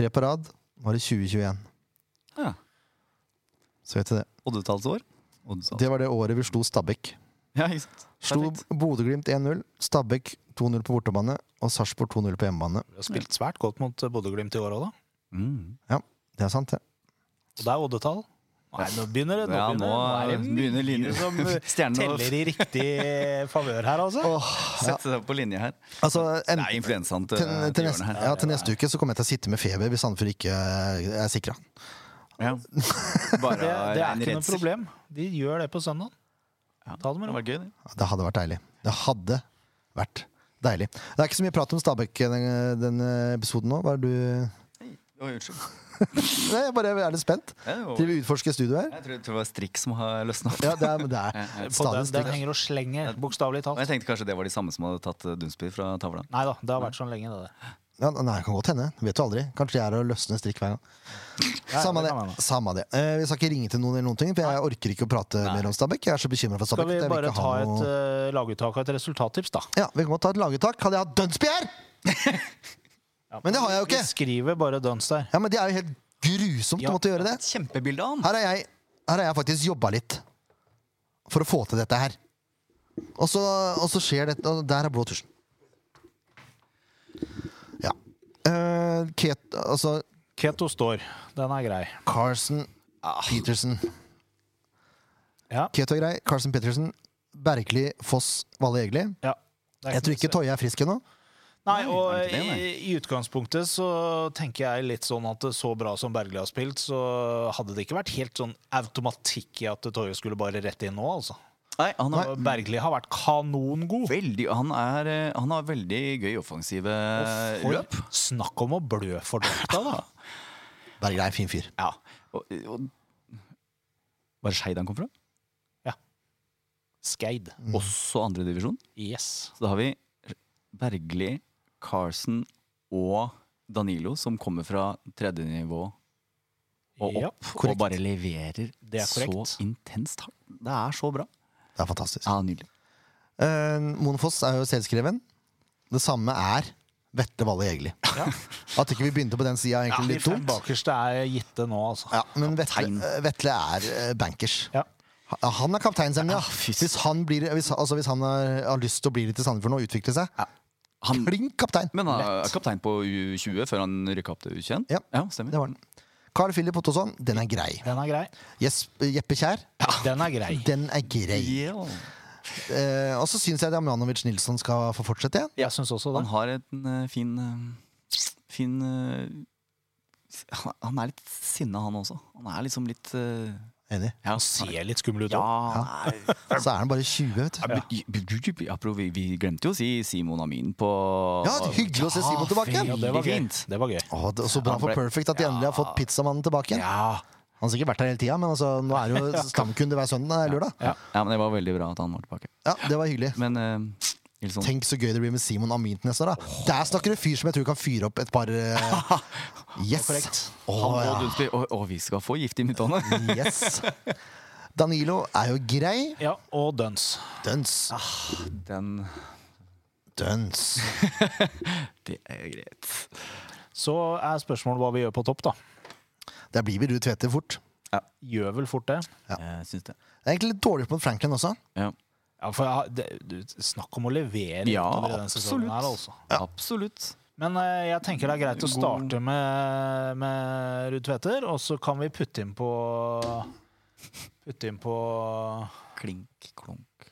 tre på rad, var i 2021.
Ja.
Så vet jeg det.
Oddetallsår. Oddetall.
Det var det året vi slo Stabæk.
Ja, ikke sant?
Slo
Perfekt.
Bodø-Glimt 1-0, Stabæk 2-0 på bortebane og Sarpsborg 2-0 på hjemmebane.
Vi har spilt svært godt mot Bodø-Glimt i år òg, da.
Mm.
Ja, det er sant, det.
Og det er oddetall. Nei, nå begynner det. Nå,
Ja, nå
begynner, det- nå er det mye
begynner linjen
som
eh,
Stjernene å
teller i riktig favør her, altså.
sette seg på linje her.
Altså, en,
Det er influensaen til,
til, til,
til
neste,
hjørnet her.
ja, til neste uke så kommer jeg til å sitte med feber hvis Sandefjord ikke eh, er sikra.
Ja. Bare
Det, det er
en
ikke noe
redsel.
problem. De gjør det på søndag. Ta det med
Det
ro.
var gøy, det.
Det hadde vært deilig. Det hadde vært deilig. Det er ikke så mye prat om Stabæk i den- denne episoden nå. Hva er du
Oi, unnskyld.
Nei, jeg bare er litt spent.
Ja, det var-
Til vi utforsker studioet her.
Jeg tror, tror det var strikk som har løsna opp.
Ja, det er, det er
På
stadig
den, den
stikk.
henger og slenger, bokstavelig
Og jeg
talt.
tenkte kanskje det var de samme som hadde tatt eh, Dunsby fra tavla.
Nei da, det har vært sånn lenge, det der.
Ja, nei, det kan godt hende. Vet du aldri. Kanskje jeg er og løsner strikk hver gang.
ja,
Samme
det
det.
kan hende.
Samme det. Eh, vi skal ikke ringe til noen, eller noen ting, for jeg orker ikke å prate mer om Stabæk. Jeg er så bekymra for
Skal
Stabæk.
vi
at jeg vil
bare
ikke ha
ta et
noe-
eh, laguttak og et resultattips, da?
Ja, vi kan godt ta et laguttak. Hadde jeg hatt Dunsby her! Men det har jeg jo
Vi
ikke!
skriver bare Duns der.
Ja, men det er jo helt grusomt
Ja.
å måtte gjøre det.
Kjempebilde av han!
Her har jeg, her har jeg faktisk jobba litt for å få til dette her. Og så, og så skjer dette, og der er blå tusjen. Ja. Eh, Ket, altså
Keto står. Den er grei.
Carson Peterson.
Ja.
Keto er grei. Carson Peterson. Bergli, Foss, Valle Egli.
ja. Det er
Jeg tror ikke Toje er frisk ennå.
Nei, og
er ikke det,
i, i utgangspunktet så tenker jeg litt sånn at så bra som Bergli har spilt, så hadde det ikke vært helt sånn automatikk i at Toje skulle bare rett inn nå, altså.
Nei, han er
Og Bergli har vært kanongod.
veldig Han, er, eh, han har veldig gøy offensive
For
eh, løp.
Eh, Snakk om å blø for drakta, da.
Bergli er en fin fyr.
Ja. Og, eh, og, var det Skeid han kom fra?
Skeid.
Mm. Også andredivisjon.
Yes.
Så da har vi Bergli, Carson og Danilo, som kommer fra tredje nivå og
Ja,
opp, og bare leverer
Det er
så
korrekt.
intenst hardt. Det er så bra.
Det er fantastisk.
Ja, nydelig.
Eh, Moen Foss er jo selvskreven. Det samme er Vetle Valle Egli. At ikke vi begynte på den sida, er
Ja,
egentlig
de
litt
fem
dumt.
bakerste er gitte nå, altså.
Ja, men Vetle,
Kaptein.
eh, Vetle er eh, bankers.
Ja.
Ha- Han er kapteinsemne, ja.
Ah, fy
Hvis han, blir, hvis, altså, hvis han har, har lyst til å bli litt i Sandefjord nå og utvikle seg,
Han,
klink kaptein!
men han er kaptein på U20 før han rykka opp til U21?
Ja.
stemmer.
Det var den. Carl Philip Ottosson, den er grei.
Den er grei.
Jes- Jeppe Kjær,
Den er grei.
den er grei.
Yeah.
Eh, og så syns jeg Damjanovic Nilsson skal få fortsette igjen.
Jeg syns også det.
Han har en eh, fin eh, Fin eh, s- Han han er litt sinna, han også. Han er liksom litt eh,
Enig.
Ja,
Ser litt skummel ut
ja,
òg.
han er
Så er han bare 20, vet du.
Ja. Apropos, vi, vi glemte jo å si Simon Amin på
Ja, det er hyggelig å se Simon tilbake
Ja,
igjen!
det var gøy.
fint.
Det var gøy.
Å, det- og så bra
Han
for
ble-
Perfect at de endelig har fått pizzamannen tilbake igjen.
Ja.
Han har sikkert vært der hele tida, men altså, nå er det jo stamkunde hver søndag. det er lørdag.
Ja.
Ja, men Det var veldig bra at han var tilbake.
Ja, det var hyggelig.
Men eh, Ilson,
Tenk så gøy det blir med Simon Amin til neste år. da. Der snakker du fyr som jeg tror kan fyre opp et par eh, Yes!
korrekt.
Å,
han og
ja.
Dunsby, og, og vi skal få gift i midtåndet!
yes. Danilo er jo grei.
ja. Og Duns.
Duns.
Den
Duns.
Det er greit.
Så er spørsmålet hva vi gjør på topp, da.
Der blir vi Ruud Tvedte fort.
Gjør vel fort det.
Jeg syns det.
Det er egentlig litt dårlig mot Franklin også.
Ja,
Ja, for jeg, har- det, du, Snakk om å levere
ja
utover i den sesongen her,
absolutt.
altså.
Absolutt.
Men eh, jeg tenker det er greit å
God-
starte med, med Ruud Tveter, og så kan vi putte inn på Putte inn på
Klink, klunk.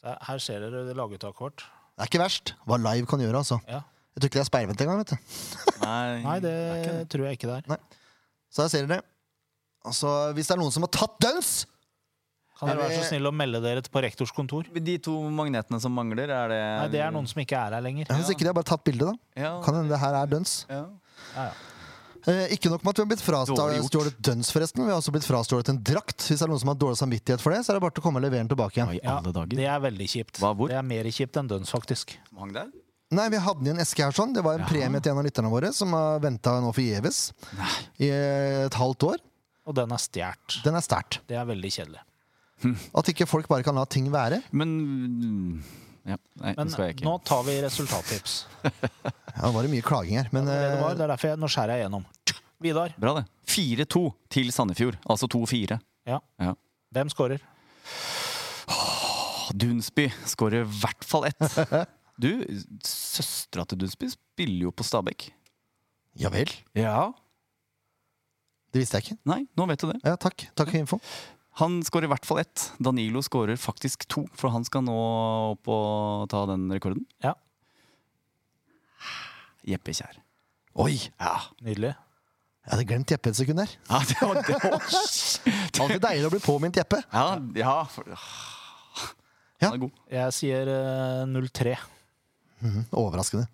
Se, Her ser dere det laguttaket vårt.
Det er ikke verst hva live kan gjøre. altså.
Ja.
Jeg tror ikke det er speilvendt engang. vet du.
Nei,
Nei, det
er ikke det.
tror jeg ikke det er.
Så der ser dere. Altså, Hvis det er noen som har tatt Duns
Kan
Er
dere være
vi-
så snill å melde dere på rektors kontor?
De to magnetene som mangler, er det
Nei, det er noen som ikke er her lenger.
Hvis ikke de har bare tatt bilde, da.
ja.
Kan hende det her er Duns.
ja.
Ja, ja.
Eh, ikke nok med at vi har blitt
Dårlig gjort.
frastjålet døns, forresten. Vi har også blitt frastjålet en drakt. Hvis det er noen som har dårlig samvittighet for det, så er det bare til å komme og levere den tilbake
Hva
igjen.
i alle dager?
Det er veldig kjipt.
Hva, hvor?
Det er mer kjipt enn Duns, faktisk.
Som hang der?
Nei, vi hadde den i en eske her sånn. Det var en premie til en av lytterne våre som har venta nå forgjeves i eh, et halvt år.
Og den er stjålet.
Den er sterkt.
Det er veldig kjedelig.
At ikke folk bare kan la ting være.
Men mm, ja, Nei,
Men
det skal jeg ikke.
nå tar vi resultattips.
Ja, det var jo mye klaging her, men
Det er det det var.
eh,
Det er derfor jeg, nå skjærer jeg gjennom. Vidar,
Bra, det. 4-2 til Sandefjord. Altså 2-4.
Ja.
Ja. Ah,
hvem scorer?
Dunsby skårer i hvert fall ett. Du, søstera til Dunsby spiller jo på Stabæk.
ja vel.
Ja.
Det visste jeg ikke.
Nei, nå vet du det.
Ja, takk. Takk for info.
Han skårer i hvert fall ett. Danilo skårer faktisk to, for han skal nå opp og ta den rekorden.
Ja.
Jeppe Kjær.
Oi!
Ja.
Nydelig.
Jeg hadde glemt Jeppe et sekund der.
Ja, det var det. var-
Alltid deilig å bli påminnet Jeppe.
ja, ja. for-
Ja.
Han er god.
Jeg sier eh, 0-3.
Mhm, Overraskende.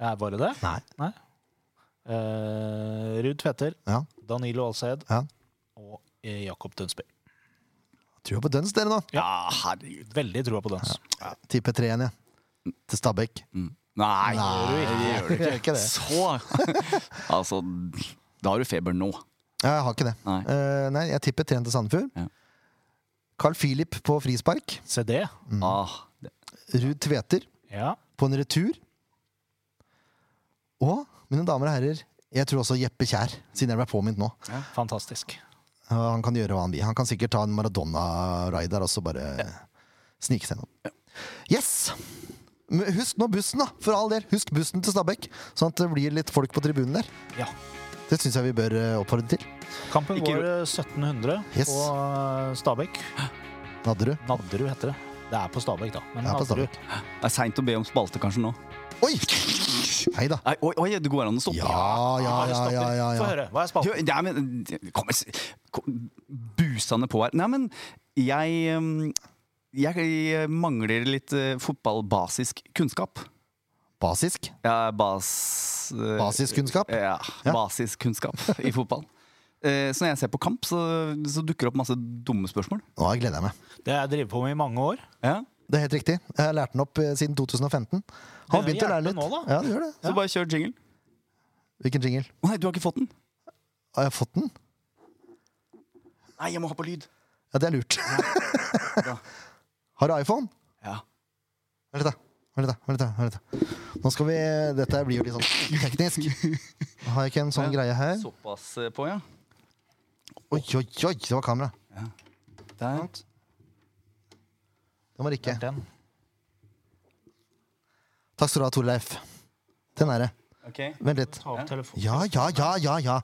Er bare det?
Nei.
Eh, Ruud Tveter,
Ja.
Danilo Alseid
Ja.
og eh, Jakob Dunsby.
Trua på døns, dere nå.
Ja, herregud.
Veldig trua på dans.
Tipper 3 igjen, jeg. Til Stabæk.
Mm. Nei,
Nei,
det gjør du ikke.
Gjør ikke det.
Så Altså, da har du feber nå.
Ja, jeg har ikke det.
Nei.
Eh, nei, jeg tipper trent til Sandefjord.
Ja.
Carl Philip på frispark.
Mm.
Se det.
Ah, det,
Ruud Tveter
Ja.
på en retur. Og, mine damer og herrer, jeg tror også Jeppe Kjær, siden jeg ble påminnet nå.
Fantastisk.
Ja, Han kan gjøre hva han vil. Han kan sikkert ta en Maradona-raid der og så bare snike seg gjennom. Yes! Men Husk nå bussen, da! For all del, husk bussen til Stabæk. Sånn at det blir litt folk på tribunen der.
Ja.
Det syns jeg vi bør eh, oppfordre til.
Kampen
Ikke
går eh, 1700
Yes.
på eh, Stabekk.
Nadderud.
Nadderud heter det. Det er på Stabekk, da. Men
Ja, på
Nadderud.
Stabæk.
Det er seint å be om spalte kanskje nå.
Oi! Hei da.
Nei, oi, oi, det går an å stoppe.
Ja, ja,
Bare
ja,
stopper.
ja. ja,
Ah, Få
ja.
høre. Hva er spalten?
Hør, Nei, men kom, s- kom busende på her. Nei, men jeg um, Jeg mangler litt eh, fotballbasisk kunnskap.
Basisk.
Ja, bas... eh,
Basiskunnskap.
Ja,
Ja.
basiskunnskap i fotball. Eh, Så når jeg ser på kamp, så, så dukker det opp masse dumme spørsmål.
eh.
Nå gleder jeg meg.
Det har jeg drevet på med i mange år.
Ja.
Det er helt riktig. Jeg har lært den opp eh, siden 2015. Har
Begynner
begynt å lære
å hjelpe
litt.
nå, da.
Ja, det gjør det.
Så bare kjør jingle.
Hvilken jingle?
Å nei, du har ikke fått den?
Har jeg fått den?
Nei, jeg må ha på lyd.
Ja, det er lurt.
Bra.
Har du iPhone?
Ja.
Vent litt, da. Vent litt, da. Vent litt, da. Vent litt, da. Nå skal vi Dette blir jo litt sånn teknisk. Har jeg ikke en sånn greie her?
Såpass eh, på, ja.
Oi, oi, oi, det var kamera.
Der.
Det var ikke.
Den.
Takk skal du ha, Torleif. Den er det.
Ok.
Vent litt.
Ta opp telefonen.
Ja, ja, ja, ja, ja.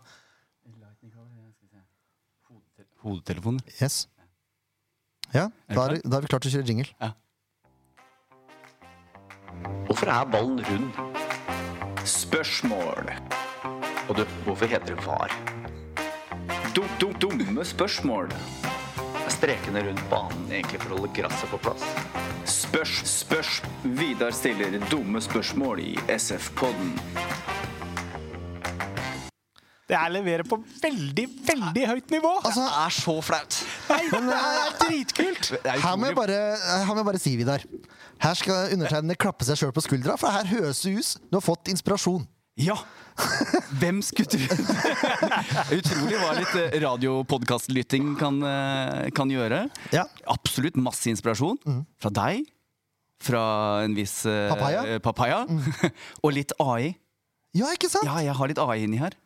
Hodetelefoner.
Yes. Ja, da er, da er vi klart til å kjøre jingle.
Hvorfor er ballen rund? Spørsmål. Og du, hvorfor heter det var? Dum, dum, dumme spørsmål. Er Strekene rundt banen egentlig for å holde gresset på plass?
Spørs, spørs. Vidar stiller dumme spørsmål i SF-podden.
Det her leverer på veldig, veldig høyt nivå.
Altså,
er så flaut.
Nei, det er
eh,
dritkult!
Det er
Her må jeg
utrolig.
bare, eh, her må jeg bare si, Vidar. Her skal undertegnede klappe seg sjøl på skuldra, for her høres det ut som du har fått inspirasjon.
Ja. Hvem skulle trodd? Utrolig hva litt eh, radiopodkastlytting kan, eh, kan gjøre.
Ja.
Absolutt masse inspirasjon
Mm.
fra deg, fra en viss eh,
Papaya. Mm.
eh, papaya. og litt AI.
Ja, ikke sant?
Ja, jeg har litt AI inni her.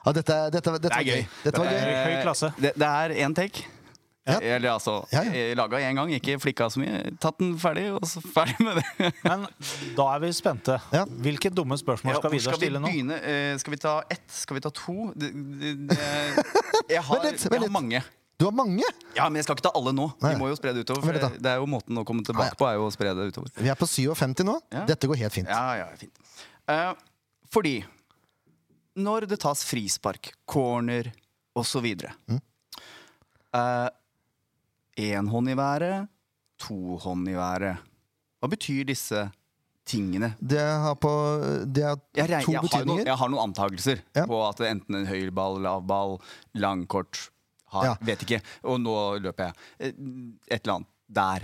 Ja, dette, dette, dette var
Det er
gøy.
gøy.
Dette var gøy.
Eh, Høy klasse.
Det, det er én take.
Ja.
Eller altså,
Ja,
ja,
ja.
laga én gang, ikke flikka så mye. Tatt den ferdig, og så ferdig med det.
Men da er vi spente.
Ja.
Hvilke dumme spørsmål skal Vidar stille nå?
begynne? Eh, skal vi ta ett? Skal vi ta to? Det- det- det- Jeg har,
Vent litt, vent
jeg har
litt.
mange.
Du har mange!
Ja, Men jeg skal ikke ta alle nå.
Nei.
Vi må jo spre det utover.
Vent litt
For
da.
det er jo måten å komme
Ah, ja.
tilbake på, er jo å spre det utover.
Vi er på 57 nå.
Ja.
Dette går helt fint.
Ja, ja, fint. Eh, fordi når det tas frispark, corner osv.
Mm.
Én Eh, hånd i været, to hånd i været. Hva betyr disse tingene?
Det har på Det har
Jeg, reg-
to
jeg, har, noen,
betydninger.
jeg har noen antakelser
Ja.
på at det er enten en høy ball, lav ball, lang, kort har,
Ja.
Vet ikke. Og nå løper jeg. Eh, Et eller annet der.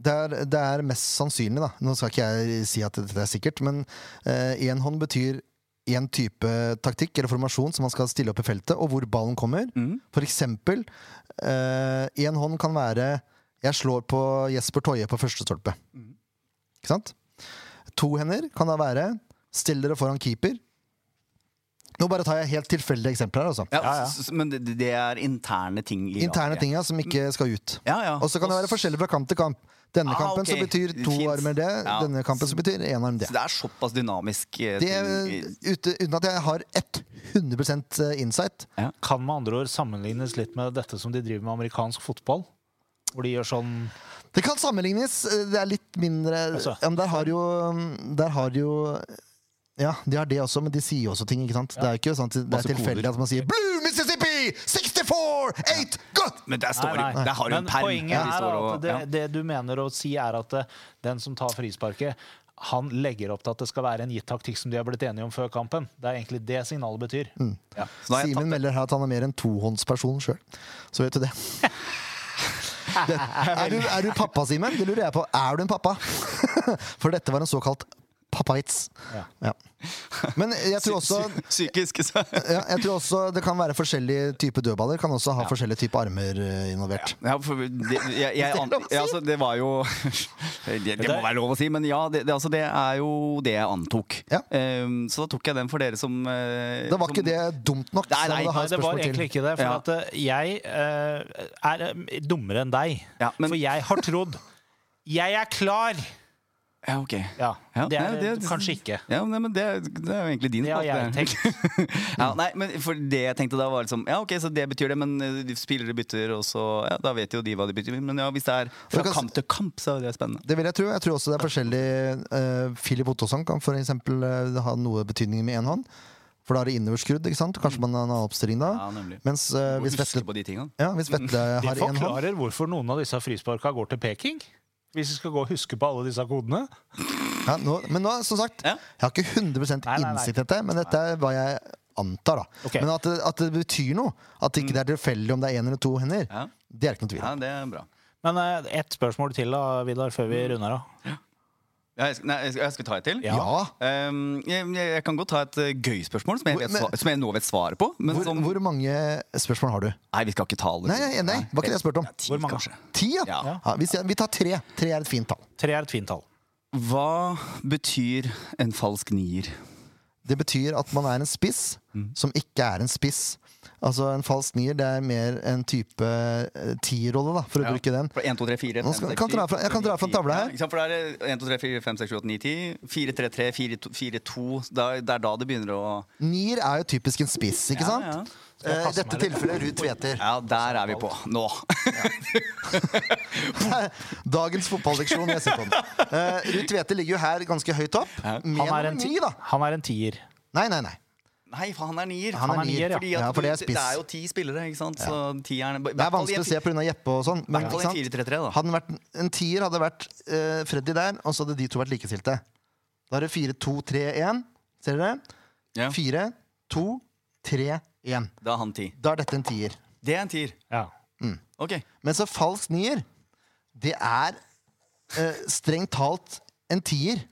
Det er, det er mest sannsynlig, da. Nå skal ikke jeg si at dette er sikkert, men én hånd betyr én type taktikk eller formasjon som man skal stille opp i feltet, og hvor ballen kommer. For eksempel én hånd kan være Jeg slår på Jesper Toje på første stolpe. Ikke sant? To hender kan da være Still dere foran keeper. Nå bare tar jeg helt tilfeldige eksempler her, altså.
Ja,
Ja, ja.
s- s- Men det, det er interne ting. i
Interne
laget.
ting ja, som ikke skal ut.
Ja, ja.
Og så kan det være forskjellig fra kamp til kamp. Denne
Ah,
kampen så
ok.
betyr to
Fint.
armer det,
Ja.
denne kampen så betyr én arm det.
Så det er såpass dynamisk. eh,
det
ting.
ute, uten at jeg har 100 eh, insight.
Kan med andre ord sammenlignes litt med dette som de driver med amerikansk fotball. Hvor de gjør sånn
Det kan sammenlignes. eh, Det er litt mindre
Altså.
ja, men Der har jo mm, Der har jo ja, de har det også, men de sier jo også ting. ikke sant? Det er jo ikke sant, det
Masse
er tilfeldig
koder.
at man sier 'Blue Mississippi! 64! 8! Good!'
Men der står
Nei,
jo
nei.
Der har du en
Men
perm.
Poenget
Ja, de
er
står og-
at det,
ja.
det du mener å si, er at eh, den som tar frisparket, han legger opp til at det skal være en gitt taktikk som de har blitt enige om før kampen. Det er egentlig det signalet betyr.
ja. Så da har
Simen
jeg tatt det.
melder her at han er mer en tohåndsperson sjøl. Så vet du det. det er, du, er du pappa, Simen? Det lurer jeg på. Er du en pappa? For dette var en såkalt Pappavits.
Ja.
Ja. Men jeg tror også
Psy- Psykisk så
ja, jeg tror også det kan være forskjellige typer dødballer. Kan også ha forskjellige typer armer eh, involvert.
ja, for det, jeg, jeg, an, ja, altså, det var jo det, det må være lov å si, men ja, det, det, altså, det er jo det jeg antok.
Ja.
Ehm, så da tok jeg den for dere som eh,
Det var
som-
ikke det dumt nok.
Nei,
så
nei,
jeg må ha
Nei,
et
det var
spørsmål til.
egentlig ikke det. For
Ja.
at eh, jeg eh, er eh, dummere enn deg.
Ja, men-
For jeg har trodd Jeg er klar!
Ja, ok.
Ja,
Ja,
det er
nei,
det,
det-
kanskje ikke.
Ja, nei, men det, er- det er jo egentlig din
Det har jeg
det her. ja, nei, men for det jeg tenkte da var liksom Ja, ok, så det betyr det, men eh, de spillere bytter, og så Ja, da vet jo de hva de bytter. Men ja, hvis det er fra
Du kan s-
kamp til kamp, så er det spennende.
Det vil jeg tro. Jeg tror også det er forskjellig eh, Philip Ottosson kan for eksempel eh, ha noe betydning med én hånd. For da er det innoverskrudd. ikke sant? Kanskje man har en annen oppstilling da.
Mm. Ja, nemlig.
Mens eh,
Må
hvis
huske
Vetle,
på de tingene.
ja, hvis Vetle
Det
har én hånd
forklarer hvorfor noen av disse frisparka går til Peking. Hvis vi skal gå og huske på alle disse kodene.
ja, nå, Men nå, som sagt,
Ja.
jeg har ikke 100
Nei, nei, nei.
innsikt i dette, men dette er hva jeg antar. da.
Ok.
Men at det, at det betyr noe, at det ikke er tilfeldig om det er én eller to hender,
Mm. Ja.
det er ikke noe tvil
ja,
om.
det er bra.
Men eh, ett spørsmål til, da, Vidar, før vi runder av.
Ja, jeg, sk- nei, jeg, sk- jeg skal ta et til.
Ja.
Ja.
Ehm, jeg, jeg jeg kan godt ta et eh, gøy spørsmål, som jeg,
Hvor-
vet,
men-
sva- som jeg nå vet svaret på. Men sånn-
Hvor,
som,
hvor mange spørsmål har du?
Nei, vi skal ikke ta alle.
Nei, nei, nei, det var ikke det jeg spurte om.
Ja, ti,
Hvor mange?
kanskje.
Ti, ja?
Ja.
ja hvis jeg, vi tar tre. Tre er et fint tall.
Tre er et fint tall.
Hva betyr en falsk nier?
Det betyr at man er en spiss
Mm.
som ikke er en spiss. Altså En falsk nier det er mer en type eh, tierrolle, da, for å bruke den.
Fra 1, 2, 3, 4,
Nå
5,
skal-
6,
kan dra fra- jeg kan dra fra en tavle her.
Ja, ikke sant, for der er 1, 2, 3, 4, 5, 6, 7, 8, 9, 10 4, 3, 3, 4, 2, 4, 2 da, Det er da det begynner å
Nier er jo typisk en spiss, ikke
Ja, ja.
sant? Eh, I dette tilfellet Ruud Tveter.
Ja, der er vi på nå.
Dagens fotballeksjon. jeg ser på den. Eh, Ruud Tveter ligger jo her ganske høyt opp. Med
Han er en,
en
ti
ni, da.
han er en tier.
Nei, nei, nei.
Nei, for han er nier.
Han er
Han er nier,
nier,
ja.
ja,
Fordi at
for det er
du-
spiss.
det er jo ti spillere, ikke sant? Så tieren
Det er vanskelig å se pga. Jeppe og sånn. Men
hvert fall
ikke
i en
sant?
4-3-3 da.
Hadde den vært, en tier hadde vært eh, Freddy der, og så hadde de to vært likestilte. Da er det 4-2-3-1. Ser dere?
Ja.
4-2-3-1.
Da er han ti.
Da er dette en tier.
Det er en tier.
Ja.
Ok.
Men så falsk nier, det er eh, strengt talt en tier.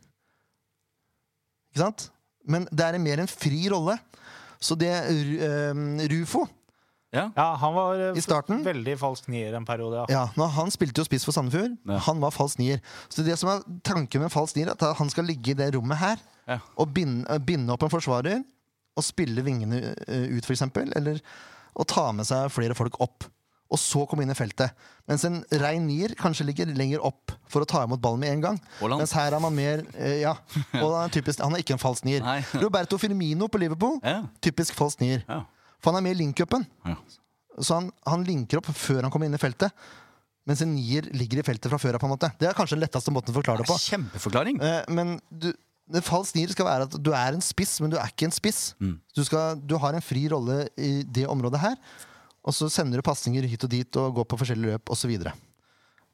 Ikke sant? Men det er mer en fri rolle. Så det Ru- eh, Rufo
Ja.
ja, han var eh,
I starten?
veldig falsk nier en periode, ja.
Ja, nå, Han spilte jo spiss for Sandefjord.
Ja.
Han var falsk nier. Så det som er tanken med falsk nier, er at han skal ligge i det rommet her
Ja.
og binde, eh, binde opp en forsvarer og spille vingene eh, ut, f.eks. Eller og ta med seg flere folk opp. Og så komme inn i feltet. Mens en rein nier kanskje ligger lenger opp for å ta imot ballen med en gang.
Haaland.
Mens her er man mer eh, Ja. Og han er, typisk, han er ikke en falsk nier.
Nei.
Roberto Firmino på Liverpool,
Ja.
typisk falsk nier.
Ja.
For han er med i link-upen.
Ja.
Så han, han linker opp før han kommer inn i feltet. Mens en nier ligger i feltet fra før av. på en måte. Det er kanskje den letteste måten å forklare det på.
Kjempeforklaring.
Eh, Men du, en falsk nier skal være at du er en spiss, men du er ikke en spiss. Du, skal, du har en fri rolle i det området her, og så sender du pasninger hit og dit og går på forskjellige løp osv.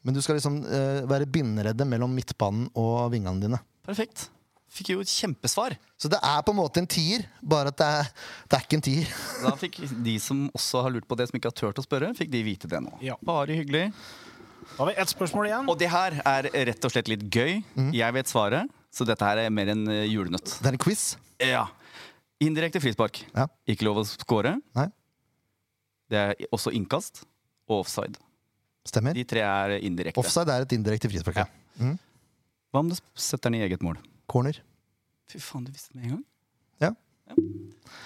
Men du skal liksom eh, være bindereddet mellom midtbanen og vingene dine.
Perfekt. Fikk jo et kjempesvar.
Så det er på en måte en tier, bare at det er, det er ikke en tier.
Da fikk de som også har lurt på det, som ikke har turt å spørre, fikk de vite det nå.
Ja.
Bare hyggelig.
Da har vi ett spørsmål igjen.
Og det her er rett og slett litt gøy.
Mhm.
Jeg vet svaret, så dette her er mer en eh, julenøtt.
Det er en quiz.
Ja. Indirekte frispark.
Ja.
Ikke lov å score.
Nei.
Det er også innkast og offside.
Stemmer.
De tre er indirekte.
Offside er et indirekte frispark.
Ja. Hva om du setter den i eget mål?
Corner.
Fy faen, du visste det med en gang.
Ja.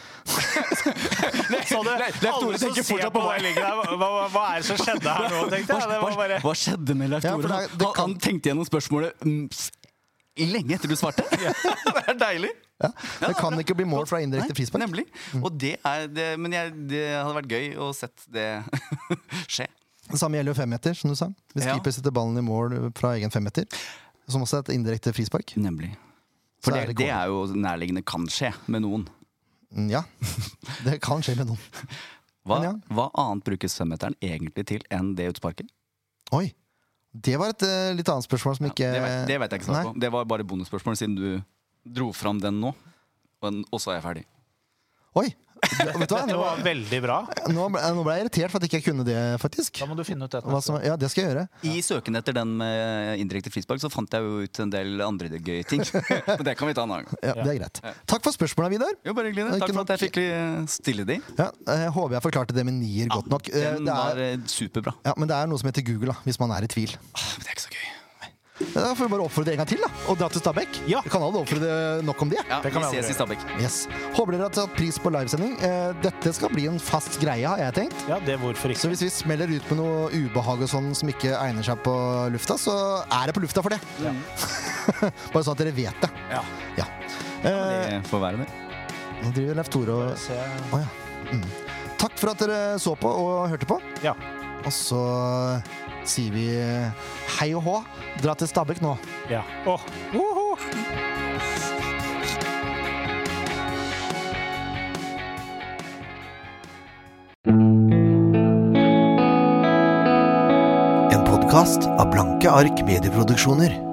Så det, alle som ser på meg ligger der, hva, hva, hva er det som skjedde her nå, tenkte jeg. Det var bare...
Hva skjedde med Leif
Ja, for
Tore?
det er- det
han,
kan-
han tenkte gjennom spørsmålet mm, s- lenge etter du svarte. det er deilig.
Ja. Det kan ikke bli mål fra indirekte frispark. Mm.
Nemlig. Og det er det, men jeg, det hadde vært gøy å sett det skje.
Det samme gjelder jo femmeter, som du sa. Hvis
Ja.
keeper setter ballen i mål fra egen femmeter, som også er et indirekte frispark.
Nemlig. For
Så er
det,
det
det er jo nærliggende kan skje med noen.
Mm, Ja, det kan skje med noen.
Hva,
Men
hva annet brukes femmeteren egentlig til enn det utsparket?
Oi! Det var et eh, litt annet spørsmål som ikke
Det vet, det vet jeg ikke
Nei.
svar på. Det var bare bonusspørsmål siden du dro fram den nå. Og den- Og så er jeg ferdig.
Oi! Vet du hva?
Det
Nå,
var veldig bra.
nå, ble, nå ble jeg irritert for at ikke jeg kunne det, faktisk.
Da må du finne ut dette.
altså.
Hva som, ja, det skal jeg gjøre.
I søken etter den med indirekte frispark, så fant jeg jo ut en del andre gøye ting. Men det kan vi ta en annen gang.
Ja, det er greit. Takk for spørsmåla, Vidar.
Jo, bare hyggelig. det.
Ikke
Takk for at jeg
nok-
fikk eh, stille de.
Ja, jeg håper jeg forklarte det med nier godt nok. Eh,
Den
Det
var
er,
eh, superbra.
ja, men det er noe som heter Google, da, hvis man er i tvil.
Ah, Men det er ikke så gøy.
Da får vi bare oppfordre en gang til, da. Og dra til Stabekk.
Ja.
Vi kan alle oppfordre nok om det.
Ja,
Det kan
vi
vi
ses
aldri
i Stabekk.
Yes. Håper dere har tatt pris på livesending. Eh, Dette skal bli en fast greie, har jeg tenkt.
Ja, det hvorfor
Så
ikke.
hvis vi smeller ut med noe ubehag og sånn som ikke egner seg på lufta, så er det på lufta for det. Bare sånn at dere vet det.
Ja.
Ja. Eh,
Det får være det.
nå driver Leif Tore og
Se.
Å ja. Mm. Takk for at dere så på og hørte på.
Ja.
Og så sier vi hei og hå. Dra til Stabekk nå.
ja. Åh. woho!
En podkast av Blanke ark medieproduksjoner.